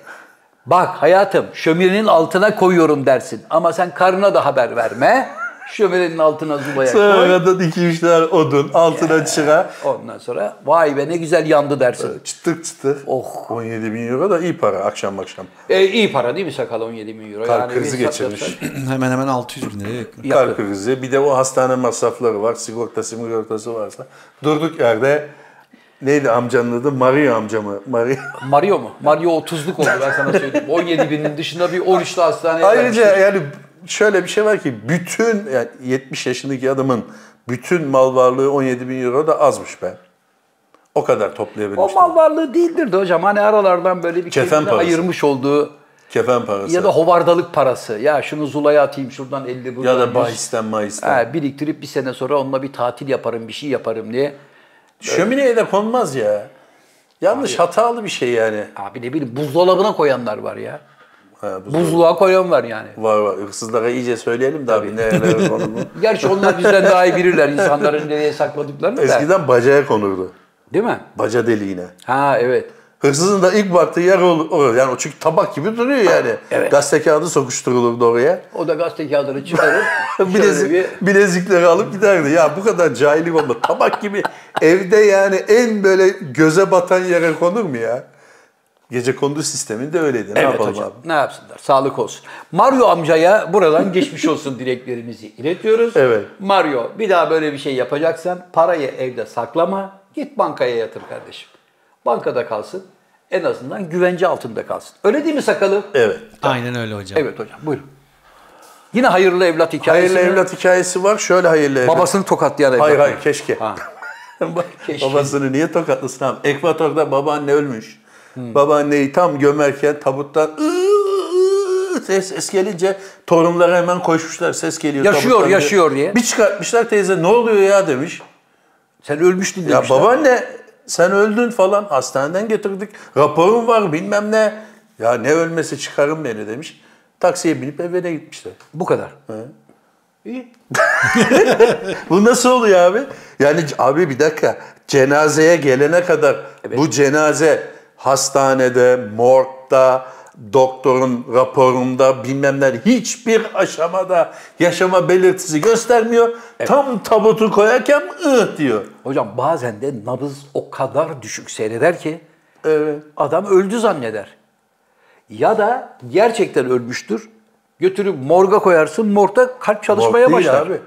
Speaker 3: Bak hayatım şöminenin altına koyuyorum dersin. Ama sen karına da haber verme. Şöminenin altına zubaya koy.
Speaker 2: Sonradan iki üç tane odun altına çıra.
Speaker 3: Ondan sonra vay be ne güzel yandı dersin.
Speaker 2: Çıtır çıtır.
Speaker 3: Oh.
Speaker 2: 17 bin euro da iyi para akşam akşam.
Speaker 3: E, iyi para değil mi sakal 17 bin euro?
Speaker 2: Kalp
Speaker 3: Yani
Speaker 2: krizi
Speaker 3: bir şey sat-
Speaker 2: geçirmiş.
Speaker 4: *clears throat* hemen hemen 600 bin liraya yakın.
Speaker 3: Yakın.
Speaker 2: Kalp krizi. Bir de o hastane masrafları var. Sigortası sigortası varsa. Durduk yerde neydi amcanın adı? Mario amcamı.
Speaker 3: *laughs*
Speaker 2: Mario. *laughs*
Speaker 3: Mario mu? Mario 30'luk oldu ben sana söyleyeyim. 17 binin dışında bir 13'lü hastaneye vermişler.
Speaker 2: Ayrıca yani şöyle bir şey var ki bütün yani 70 yaşındaki adamın bütün mal varlığı 17 bin euro da azmış be. O kadar
Speaker 3: O
Speaker 2: toplayabilmiş.
Speaker 3: mal varlığı değildir de hocam. Hani aralardan böyle bir
Speaker 2: Kefen
Speaker 3: kendine
Speaker 2: parası.
Speaker 3: ayırmış olduğu
Speaker 2: Kefen parası.
Speaker 3: ya da hovardalık parası. Ya şunu Zula'ya atayım şuradan 50 buradan
Speaker 2: ya da
Speaker 3: 100.
Speaker 2: bahisten mahisten.
Speaker 3: Ha, biriktirip bir sene sonra onunla bir tatil yaparım, bir şey yaparım diye.
Speaker 2: Şömineye de konmaz ya. Yanlış hatalı bir şey yani.
Speaker 3: Abi ne bileyim buzdolabına koyanlar var ya.
Speaker 2: Ha, bu-
Speaker 3: Buzluğa koyan var yani.
Speaker 2: Var var. Hırsızlara iyice söyleyelim de abi ne *laughs* neler konulur.
Speaker 3: Gerçi onlar bizden daha iyi bilirler insanların nereye sakladıklarını da.
Speaker 2: Eskiden bacaya konurdu.
Speaker 3: Değil mi?
Speaker 2: Baca deliğine.
Speaker 3: Ha evet.
Speaker 2: Hırsızın da ilk baktığı yer ol- o. Yani o çünkü tabak gibi duruyor yani.
Speaker 3: Evet.
Speaker 2: Gazete kağıdı sokuşturulurdu oraya.
Speaker 3: O da gazete kağıdını
Speaker 2: *laughs*
Speaker 3: çıkarır. şöyle
Speaker 2: Bilezik,
Speaker 3: bir
Speaker 2: bilezikleri alıp giderdi. Ya bu kadar cahillik olma. Tabak gibi evde yani en böyle göze batan yere konur mu ya? Gece kondu sisteminde öyleydi. Ne
Speaker 3: Evet
Speaker 2: yapalım
Speaker 3: hocam.
Speaker 2: abi?
Speaker 3: Ne yapsınlar? Sağlık olsun. Mario amcaya buradan geçmiş olsun dileklerimizi iletiyoruz.
Speaker 2: Evet.
Speaker 3: Mario bir daha böyle bir şey yapacaksan parayı evde saklama. Git bankaya yatır kardeşim. Bankada kalsın. En azından güvence altında kalsın. Öyle değil mi sakalı?
Speaker 2: Evet.
Speaker 4: Aynen öyle hocam.
Speaker 3: Evet hocam buyurun. Yine hayırlı evlat hikayesi.
Speaker 2: Hayırlı evlat hikayesi var. Şöyle hayırlı evlat.
Speaker 3: Babasını tokatlayan evlat.
Speaker 2: Hayır
Speaker 3: mı?
Speaker 2: hayır keşke. *laughs*
Speaker 3: Ha. Keşke.
Speaker 2: Babasını niye tokatlasın abi? Ekvator'da babaanne ölmüş.
Speaker 3: Hmm.
Speaker 2: Babaanneyi tam gömerken tabuttan "Iıı" ses, ses gelince torunlara hemen koşmuşlar. Ses geliyor
Speaker 3: Yaşıyor,
Speaker 2: tabuttan
Speaker 3: yaşıyor diye.
Speaker 2: Bir çıkartmışlar teyze ne oluyor ya demiş.
Speaker 3: Sen ölmüştün
Speaker 2: Ya
Speaker 3: demişler.
Speaker 2: babaanne sen öldün falan hastaneden getirdik. Raporun var bilmem ne. Ya ne ölmesi çıkarın beni demiş. Taksiye binip evine gitmişler.
Speaker 3: Bu kadar.
Speaker 2: Bu nasıl oluyor abi? Yani c- abi bir dakika cenazeye gelene kadar bu cenaze hastanede, morgda, doktorun raporunda bilmem ne hiçbir aşamada yaşama belirtisi göstermiyor. Tam tabutu koyarken ıh diyor.
Speaker 3: Hocam bazen de nabız o kadar düşük seyreder ki
Speaker 2: Evet.
Speaker 3: adam öldü zanneder. Ya da gerçekten ölmüştür. Götürüp morga koyarsın, morgda kalp çalışmaya
Speaker 2: Morg değil
Speaker 3: başlar.
Speaker 2: abi.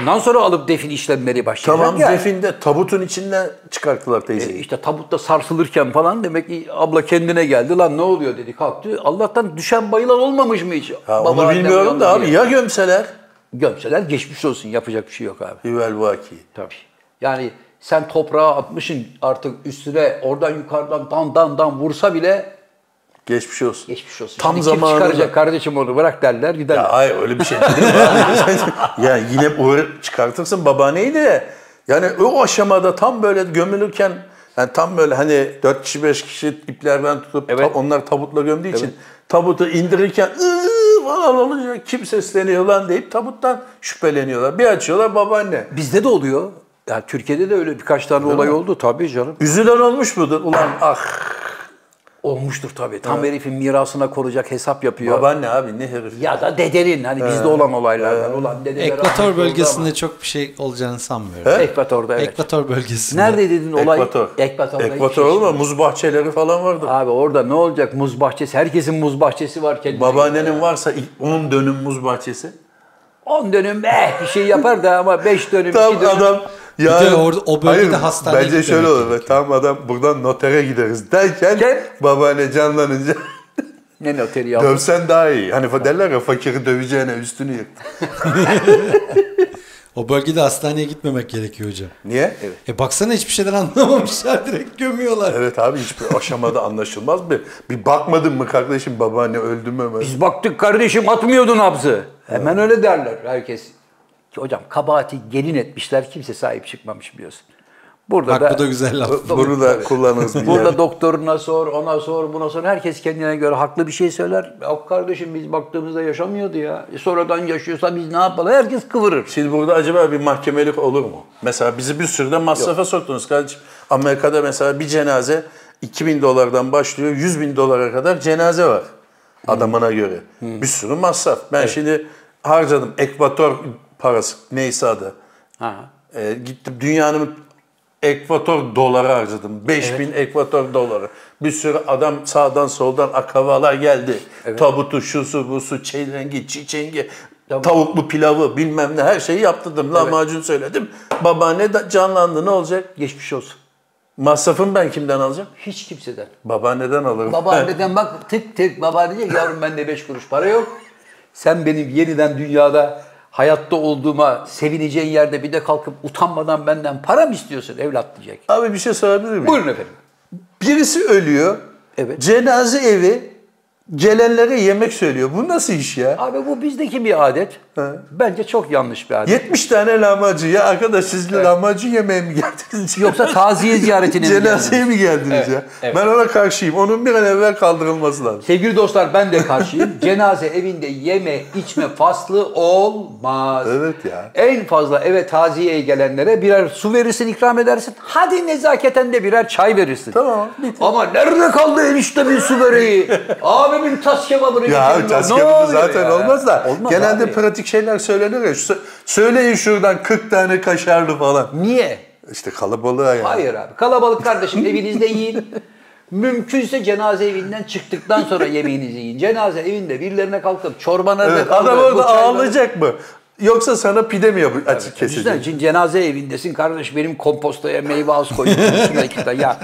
Speaker 3: Ondan sonra alıp defin işlemleri başlayacak.
Speaker 2: Tamam
Speaker 3: ya.
Speaker 2: definde tabutun içinden çıkarttılar teyzeyi.
Speaker 3: İşte tabutta sarsılırken falan demek ki abla kendine geldi. Lan ne oluyor dedi kalktı. Allah'tan düşen bayılan olmamış mı hiç?
Speaker 2: Ha, onu
Speaker 3: Babaannem
Speaker 2: bilmiyorum da
Speaker 3: uyandı
Speaker 2: abi
Speaker 3: diye.
Speaker 2: ya gömseler?
Speaker 3: Gömseler geçmiş olsun yapacak bir şey yok abi.
Speaker 2: Hüvel vaki.
Speaker 3: Tabii. Yani sen toprağa atmışın artık üstüne oradan yukarıdan dan dan dan vursa bile
Speaker 2: Geçmiş olsun.
Speaker 3: geçmiş olsun.
Speaker 2: Tam
Speaker 3: Şimdi
Speaker 2: zamanında.
Speaker 3: Kim çıkaracak kardeşim onu bırak derler giderler.
Speaker 2: Ya hayır öyle bir şey değil. *laughs* ya yine uğra- çıkartırsın babaanneyi de. Yani o aşamada tam böyle gömülürken yani tam böyle hani 4 kişi 5 kişi iplerden tutup ta- onlar tabutla gömdüğü için tabutu indirirken "Iıı" falan olunca kim sesleniyor lan deyip tabuttan şüpheleniyorlar. Bir açıyorlar babaanne.
Speaker 3: Bizde de oluyor. Ya Türkiye'de de öyle birkaç tane olay oldu tabii canım.
Speaker 2: Üzülen olmuş mudur? Ulan ah
Speaker 3: Olmuştur tabii. Tam herifin mirasına koruyacak hesap yapıyor.
Speaker 2: Babaanne abi ne herif.
Speaker 3: Ya da dedenin hani bizde olan olaylardan. Ulan dedeler rahmetli
Speaker 4: Ekvator
Speaker 3: oldu
Speaker 4: bölgesinde çok bir şey olacağını sanmıyorum.
Speaker 3: ama. Ekvator'da evet.
Speaker 4: Ekvator bölgesinde.
Speaker 3: Nerede dedin olay?
Speaker 2: Ekvator.
Speaker 3: Ekvator'da hiçbir
Speaker 2: Ekvator
Speaker 3: şey
Speaker 2: olma muz bahçeleri falan vardı.
Speaker 3: Abi orada ne olacak muz bahçesi? Herkesin muz bahçesi var kendine.
Speaker 2: Babaannenin varsa ilk 10 dönüm muz bahçesi.
Speaker 3: 10 dönüm eh bir şey yapar da ama 5 dönüm, 2
Speaker 2: Tam
Speaker 3: dönüm.
Speaker 2: adam ya
Speaker 4: de orada- o bölgede hastaneye
Speaker 2: Bence
Speaker 4: gitmemek
Speaker 2: şöyle olur. be, Tam adam buradan notere gideriz derken
Speaker 3: Gel.
Speaker 2: babaanne canlanınca *laughs*
Speaker 3: Ne noteri ya?
Speaker 2: dövsen daha iyi. Hani fa- derler ya fakiri döveceğine üstünü yırt.
Speaker 4: O bölgede hastaneye gitmemek gerekiyor hocam.
Speaker 2: Niye? Evet.
Speaker 4: E baksana hiçbir şeyden *laughs* anlamamışlar direkt gömüyorlar.
Speaker 2: Evet abi hiçbir aşamada anlaşılmaz bir. Bir bakmadın mı kardeşim babaanne öldü mü? mü?
Speaker 3: Biz baktık kardeşim atmıyordun nabzı. Hemen öyle derler herkes. Ki hocam kabahati gelin etmişler kimse sahip çıkmamış biliyorsun. Burada
Speaker 4: Bak
Speaker 3: da,
Speaker 4: bu
Speaker 2: *laughs*
Speaker 4: da güzel laf.
Speaker 2: Bunu da kullanırız. bir
Speaker 3: Burada
Speaker 2: yerde.
Speaker 3: doktoruna sor, ona sor, buna sor. Herkes kendine göre haklı bir şey söyler. Yok kardeşim biz baktığımızda yaşamıyordu ya. E, sonradan yaşıyorsa biz ne yapalım? Herkes kıvırır.
Speaker 2: Şimdi burada acaba bir mahkemelik olur mu? Mesela bizi bir sürü de masrafa soktunuz kardeşim. Amerika'da mesela bir cenaze 2000 dolardan başlıyor 100 bin dolara kadar cenaze var adamına göre. Bir sürü masraf. Ben şimdi harcadım ekvator parası neyse adı.
Speaker 3: Ha.
Speaker 2: Ee, gittim dünyanın ekvator doları harcadım. 5000 ekvator doları. Bir sürü adam sağdan soldan akrabalar geldi. Tabutu, şusu, busu, çelengi, çiçengi, tavuklu pilavı bilmem ne her şeyi yaptırdım. Lahmacun söyledim. Babaanne de canlandı ne olacak?
Speaker 3: Geçmiş olsun.
Speaker 2: Masrafını ben kimden alacağım?
Speaker 3: Hiç kimseden.
Speaker 2: Babaanneden alırım.
Speaker 3: Babaanneden bak tık tık baba diyecek yavrum bende beş kuruş para yok. Sen benim yeniden dünyada hayatta olduğuma sevineceğin yerde bir de kalkıp utanmadan benden para mı istiyorsun evlat diyecek.
Speaker 2: *laughs* Abi bir şey sorabilir miyim?
Speaker 3: Buyurun efendim.
Speaker 2: Birisi ölüyor.
Speaker 3: Evet.
Speaker 2: Cenaze evi gelenlere yemek söylüyor. Bu nasıl iş ya?
Speaker 3: Abi bu bizdeki bir adet. Bence çok yanlış bir adet.
Speaker 2: 70 tane lahmacun. Ya arkadaş siz lahmacun yemeye mi
Speaker 3: *laughs*
Speaker 2: geldiniz?
Speaker 3: Yoksa taziye ziyaretine mi geldiniz?
Speaker 2: Cenazeye mi geldiniz ya? Ben ona karşıyım. Onun bir an evvel kaldırılması lazım.
Speaker 3: Sevgili dostlar ben de karşıyım. Cenaze evinde yeme içme faslı olmaz.
Speaker 2: Evet ya.
Speaker 3: En fazla eve taziyeye gelenlere birer su verirsin, ikram edersin. Hadi nezaketen de birer çay verirsin.
Speaker 2: Tamam,
Speaker 3: Ama nerede kaldı eniştemin su
Speaker 2: *laughs*
Speaker 3: böreği? Abimin tas kebabını
Speaker 2: Ya
Speaker 3: getirin.
Speaker 2: tas
Speaker 3: Ne
Speaker 2: kebabı
Speaker 3: oluyor
Speaker 2: zaten
Speaker 3: ya?
Speaker 2: olmaz da.
Speaker 3: Olmaz
Speaker 2: Genelde
Speaker 3: abi.
Speaker 2: pratik şeyler söylenir ya. Şu- Söyleyin şuradan 40 tane kaşarlı falan.
Speaker 3: Niye?
Speaker 2: İşte kalabalığa yani.
Speaker 3: Hayır abi. Kalabalık kardeşim evinizde yiyin. Mümkünse cenaze evinden çıktıktan sonra yemeğinizi yiyin. Cenaze evinde birilerine kalkıp çorbanı
Speaker 2: Evet, adam orada ağlayacak mı? Yoksa sana pide mi yapıp açık
Speaker 3: Düşünsene
Speaker 2: kesecek?
Speaker 3: cin- cenaze evindesin kardeş benim kompostaya meyve az koyuyorsun
Speaker 2: *laughs*
Speaker 3: üstüne iki tane. Ya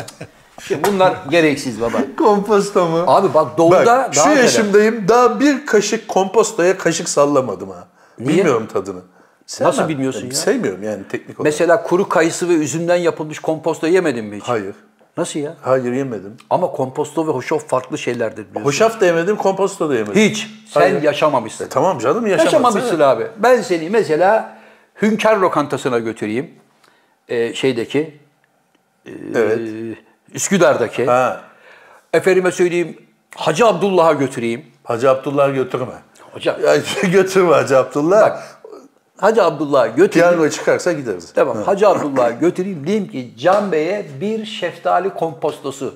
Speaker 3: şimdi bunlar gereksiz baba.
Speaker 2: Komposto mu?
Speaker 3: Abi bak doğuda
Speaker 2: Bak
Speaker 3: daha
Speaker 2: şu
Speaker 3: fena.
Speaker 2: yaşımdayım daha bir kaşık kompostoya kaşık sallamadım ha. Bilmiyorum tadını. Sevmem.
Speaker 3: Nasıl bilmiyorsun ya?
Speaker 2: Sevmiyorum yani teknik olarak.
Speaker 3: Mesela kuru kayısı ve üzümden yapılmış komposto yemedin mi hiç?
Speaker 2: Hayır.
Speaker 3: Nasıl ya?
Speaker 2: Hayır yemedim.
Speaker 3: Ama komposto ve hoşof farklı şeylerdir biliyorsun.
Speaker 2: Hoşaf da yemedim, komposto da yemedim.
Speaker 3: Hiç. Sen
Speaker 2: Hayır. E,
Speaker 3: yaşamamışsın.
Speaker 2: Tamam canım yaşamaz.
Speaker 3: Yaşamamışsın abi. Ben seni mesela Hünkar lokantasına götüreyim. Ee, şeydeki,
Speaker 2: Evet.
Speaker 3: e, Üsküdar'daki.
Speaker 2: Ha.
Speaker 3: Efendime söyleyeyim Hacı Abdullah'a götüreyim.
Speaker 2: Hacı Abdullah götürme.
Speaker 3: Hocam
Speaker 2: Ya *laughs* götürme Hacı Abdullah.
Speaker 3: Bak. Hacı Abdullah'a götüreyim.
Speaker 2: Piyango çıkarsa gideriz.
Speaker 3: Tamam Hacı Abdullah'a götüreyim. Diyeyim ki Can Bey'e bir şeftali kompostosu.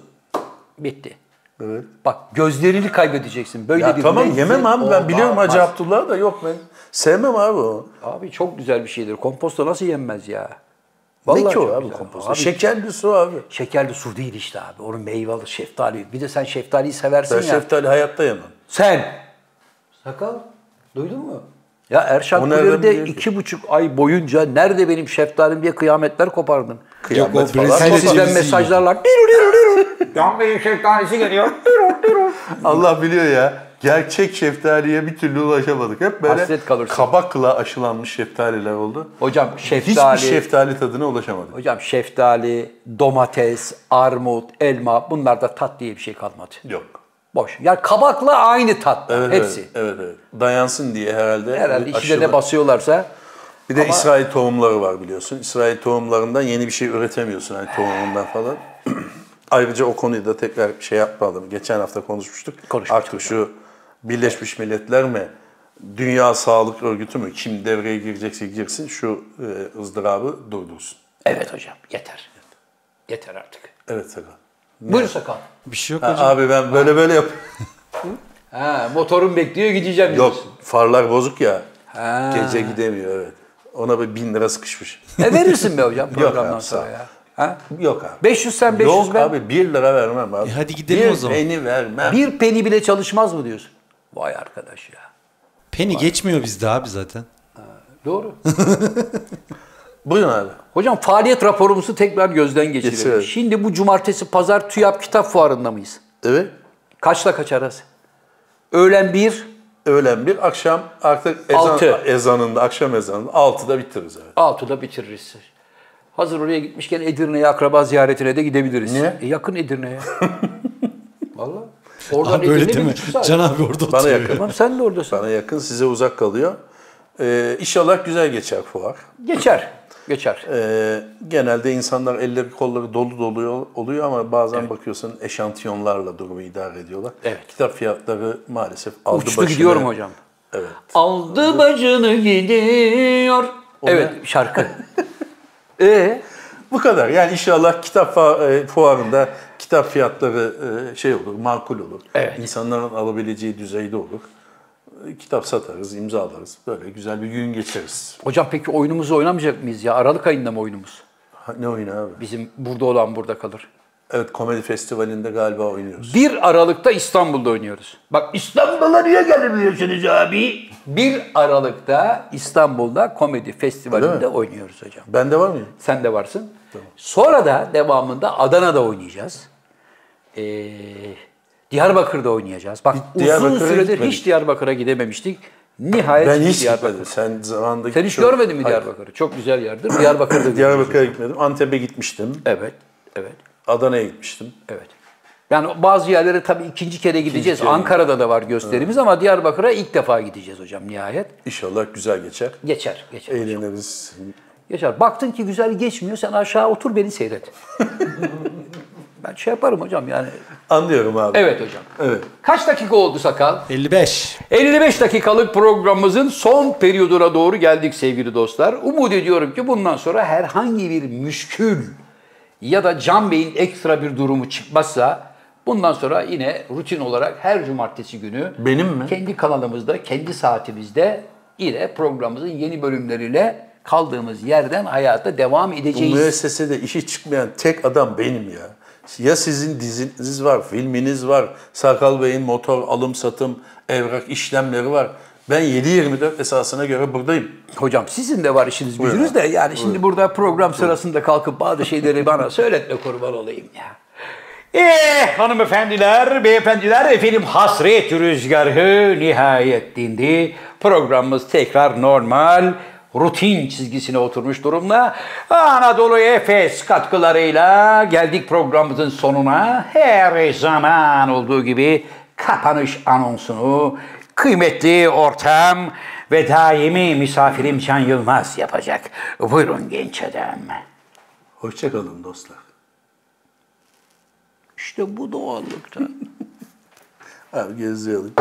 Speaker 3: Bitti.
Speaker 2: Evet.
Speaker 3: Bak gözlerini kaybedeceksin. Böyle
Speaker 2: Ya
Speaker 3: bir
Speaker 2: tamam
Speaker 3: lezzet
Speaker 2: yemem abi ben biliyorum
Speaker 3: olamaz.
Speaker 2: Hacı Abdullah da yok ben. Sevmem abi o.
Speaker 3: Abi çok güzel bir şeydir. Komposto nasıl yenmez ya?
Speaker 2: ne ki o
Speaker 3: çok
Speaker 2: abi
Speaker 3: güzel.
Speaker 2: komposto?
Speaker 3: Abi
Speaker 2: Şekerli su abi.
Speaker 3: şekerli su değil işte abi. Onun meyveli şeftali. Bir de sen şeftaliyi seversin
Speaker 2: Ben
Speaker 3: ya.
Speaker 2: şeftali hayatta yemem.
Speaker 3: Sen! Sakal, duydun mu? Ya Erşan
Speaker 2: O nereden
Speaker 3: Kuler'de
Speaker 2: biliyor ki?
Speaker 3: iki buçuk ay boyunca nerede benim şeftalim diye kıyametler kopardın.
Speaker 4: Yok o
Speaker 2: Kıyamet falan.
Speaker 4: Brezilya
Speaker 3: Sizden
Speaker 4: cevizi yiyor.
Speaker 3: mesajlarla "Diru, diru, diru."
Speaker 2: Allah biliyor ya. Gerçek şeftaliye bir türlü ulaşamadık. Hep böyle
Speaker 3: Hasret kalırsın.
Speaker 2: kabakla aşılanmış şeftaliler oldu.
Speaker 3: Hocam şeftali,
Speaker 2: Hiçbir şeftali tadına ulaşamadık.
Speaker 3: hocam şeftali, domates, armut, elma bunlarda tat diye bir şey kalmadı.
Speaker 2: Yok.
Speaker 3: Boş. Yani kabakla aynı tat
Speaker 2: Evet,
Speaker 3: hepsi.
Speaker 2: Evet, evet, evet. Dayansın diye herhalde.
Speaker 3: Herhalde içine
Speaker 2: aşılı-
Speaker 3: de basıyorlarsa
Speaker 2: Bir de İsrail tohumları var biliyorsun. İsrail tohumlarından yeni bir şey üretemiyorsun hani tohumundan falan. *clears throat* Ayrıca o konuyu da tekrar şey yapmadım. Geçen hafta konuşmuştuk.
Speaker 3: Konuşmuştuk.
Speaker 2: Artık şu Birleşmiş Milletler mi, Dünya Sağlık Örgütü mü kim devreye girecekse girsin şu e, ızdırabı durdursun.
Speaker 3: evet hocam yeter. Yeter artık.
Speaker 2: Evet Sakal.
Speaker 3: Buyur sakal.
Speaker 4: Bir şey yok
Speaker 2: Ha,
Speaker 4: hocam.
Speaker 2: abi ben böyle böyle yap.
Speaker 3: Ha, motorun bekliyor gideceğim.
Speaker 2: Yok
Speaker 3: diyorsun.
Speaker 2: farlar bozuk ya. Gece gidemiyor evet. Ona bir bin lira sıkışmış.
Speaker 3: E verirsin be hocam
Speaker 2: *laughs* Yok
Speaker 3: programdan
Speaker 2: abi, sağ ol.
Speaker 3: sonra ya. Ha?
Speaker 2: Yok abi.
Speaker 3: 500 sen 500
Speaker 2: Yok
Speaker 3: ben.
Speaker 2: abi 1 lira vermem abi.
Speaker 4: E hadi gidelim
Speaker 2: bir
Speaker 4: o zaman.
Speaker 2: Beni vermem.
Speaker 3: Bir peni bile çalışmaz mı diyorsun? Vay arkadaş ya.
Speaker 4: Penny geçmiyor bizde abi zaten.
Speaker 3: Doğru.
Speaker 2: Buyurun abi.
Speaker 3: Hocam faaliyet raporumuzu tekrar gözden geçirelim.
Speaker 2: Geçirelim.
Speaker 3: Şimdi bu cumartesi pazar TÜYAP kitap fuarında mıyız?
Speaker 2: Evet.
Speaker 3: Kaçla kaç arası? Öğlen 1,
Speaker 2: Öğlen bir akşam artık ezan,
Speaker 3: Altı.
Speaker 2: ezanında, akşam ezanında 6'da bitiririz abi.
Speaker 3: 6'da bitiririz. Hazır oraya gitmişken Edirne'ye akraba ziyaretine de gidebiliriz.
Speaker 2: Niye?
Speaker 3: E, yakın
Speaker 2: *laughs*
Speaker 3: Edirne'ye. Valla. Oradan
Speaker 4: Abi öyle
Speaker 3: Edirne
Speaker 4: değil
Speaker 3: bir
Speaker 4: mi?
Speaker 3: buçuk saat.
Speaker 4: Can abi orada
Speaker 2: Bana
Speaker 4: oturuyor.
Speaker 2: yakın.
Speaker 3: Tamam sen de oradasın.
Speaker 2: Bana yakın, size uzak kalıyor. Ee, inşallah güzel geçer fuar.
Speaker 3: Geçer. Geçer.
Speaker 2: Ee, genelde insanlar elleri kolları dolu dolu yol- oluyor ama bazen bakıyorsun eşantiyonlarla durumu idare ediyorlar.
Speaker 3: Evet.
Speaker 2: Kitap fiyatları maalesef aldı
Speaker 3: Uçtu
Speaker 2: başını.
Speaker 3: gidiyorum hocam.
Speaker 2: Evet.
Speaker 3: Aldı bacını gidiyor. Evet
Speaker 2: *laughs*
Speaker 3: şarkı. e
Speaker 2: Bu kadar. Yani inşallah kitap fa- e, fuarında kitap fiyatları e, şey olur, makul olur.
Speaker 3: Evet.
Speaker 2: İnsanların alabileceği düzeyde olur. E, Kitap satarız, imzalarız. Böyle güzel bir gün geçeriz.
Speaker 3: hocam peki oyunumuzu oynamayacak mıyız ya? Aralık ayında mı oyunumuz?
Speaker 2: Ha, Ne oyunu abi?
Speaker 3: Bizim burada olan burada kalır.
Speaker 2: Evet, komedi festivalinde galiba oynuyoruz.
Speaker 3: 1 Aralık'ta İstanbul'da oynuyoruz. Bak İstanbul'a niye gelemiyorsunuz abi? 1 Aralık'ta İstanbul'da komedi
Speaker 2: Öyle
Speaker 3: festivalinde
Speaker 2: mi?
Speaker 3: oynuyoruz hocam.
Speaker 2: Bende var mı?
Speaker 3: Sen de varsın. Sonra da devamında Adana'da oynayacağız. Ee, Diyarbakır'da oynayacağız. Bak uzun
Speaker 2: Diyarbakır'a
Speaker 3: süredir
Speaker 2: gitmedik.
Speaker 3: hiç Diyarbakır'a gidememiştik. Nihayet
Speaker 2: Ben
Speaker 3: şimdi
Speaker 2: hiç
Speaker 3: Diyarbakır.
Speaker 2: gitmedim. Sen zamanında
Speaker 3: Sen hiç
Speaker 2: çok-
Speaker 3: görmedin mi
Speaker 2: Hayır.
Speaker 3: Diyarbakır'ı? Çok güzel
Speaker 2: *clears throat*
Speaker 3: yerdir. Diyarbakır'da gidiyoruz.
Speaker 2: *laughs* Diyarbakır'a gitmedim. Antep'e gitmiştim.
Speaker 3: Evet, evet,
Speaker 2: Adana'ya gitmiştim.
Speaker 3: evet. Yani bazı yerlere tabii ikinci kere gideceğiz.
Speaker 2: kere.
Speaker 3: Ankara'da da var gösterimiz ama Diyarbakır'a ilk defa gideceğiz hocam nihayet.
Speaker 2: İnşallah güzel geçer.
Speaker 3: Geçer, geçer.
Speaker 2: Eğleniriz.
Speaker 3: Geçer. Baktın ki güzel geçmiyor sen aşağı otur beni *laughs* seyret. ben şey yaparım hocam yani.
Speaker 2: Anlıyorum abi.
Speaker 3: Evet hocam.
Speaker 2: Evet.
Speaker 3: Kaç dakika oldu sakal?
Speaker 4: 55.
Speaker 3: 55 dakikalık programımızın son periyoduna doğru geldik sevgili dostlar. Umut ediyorum ki bundan sonra herhangi bir müşkül ya da Can Bey'in ekstra bir durumu çıkmazsa bundan sonra yine rutin olarak her cumartesi günü
Speaker 2: Benim mi?
Speaker 3: kendi kanalımızda, kendi saatimizde yine programımızın yeni bölümleriyle kaldığımız yerden hayata devam
Speaker 2: Bu
Speaker 3: edeceğiz.
Speaker 2: müessesede işi çıkmayan tek adam benim ya. Ya sizin diziniz var, filminiz var, Sakal Bey'in motor alım satım, evrak işlemleri var. Ben 7-24 esasına göre buradayım.
Speaker 3: Hocam sizin de var işiniz gücünüz de yani şimdi burada program sırasında kalkıp bazı
Speaker 5: *laughs*
Speaker 3: şeyleri bana söyletme kurban olayım ya.
Speaker 5: Eh hanımefendiler, beyefendiler efendim hasret rüzgarı nihayet dindi. Programımız tekrar normal rutin çizgisine oturmuş durumda. Anadolu Efes katkılarıyla geldik programımızın sonuna. Her zaman olduğu gibi kapanış anonsunu kıymetli ortam ve daimi misafirim Can Yılmaz yapacak. Buyurun genç adam.
Speaker 2: Hoşçakalın dostlar. *laughs*
Speaker 3: İşte bu doğallıkta.
Speaker 2: Abi geziyorum.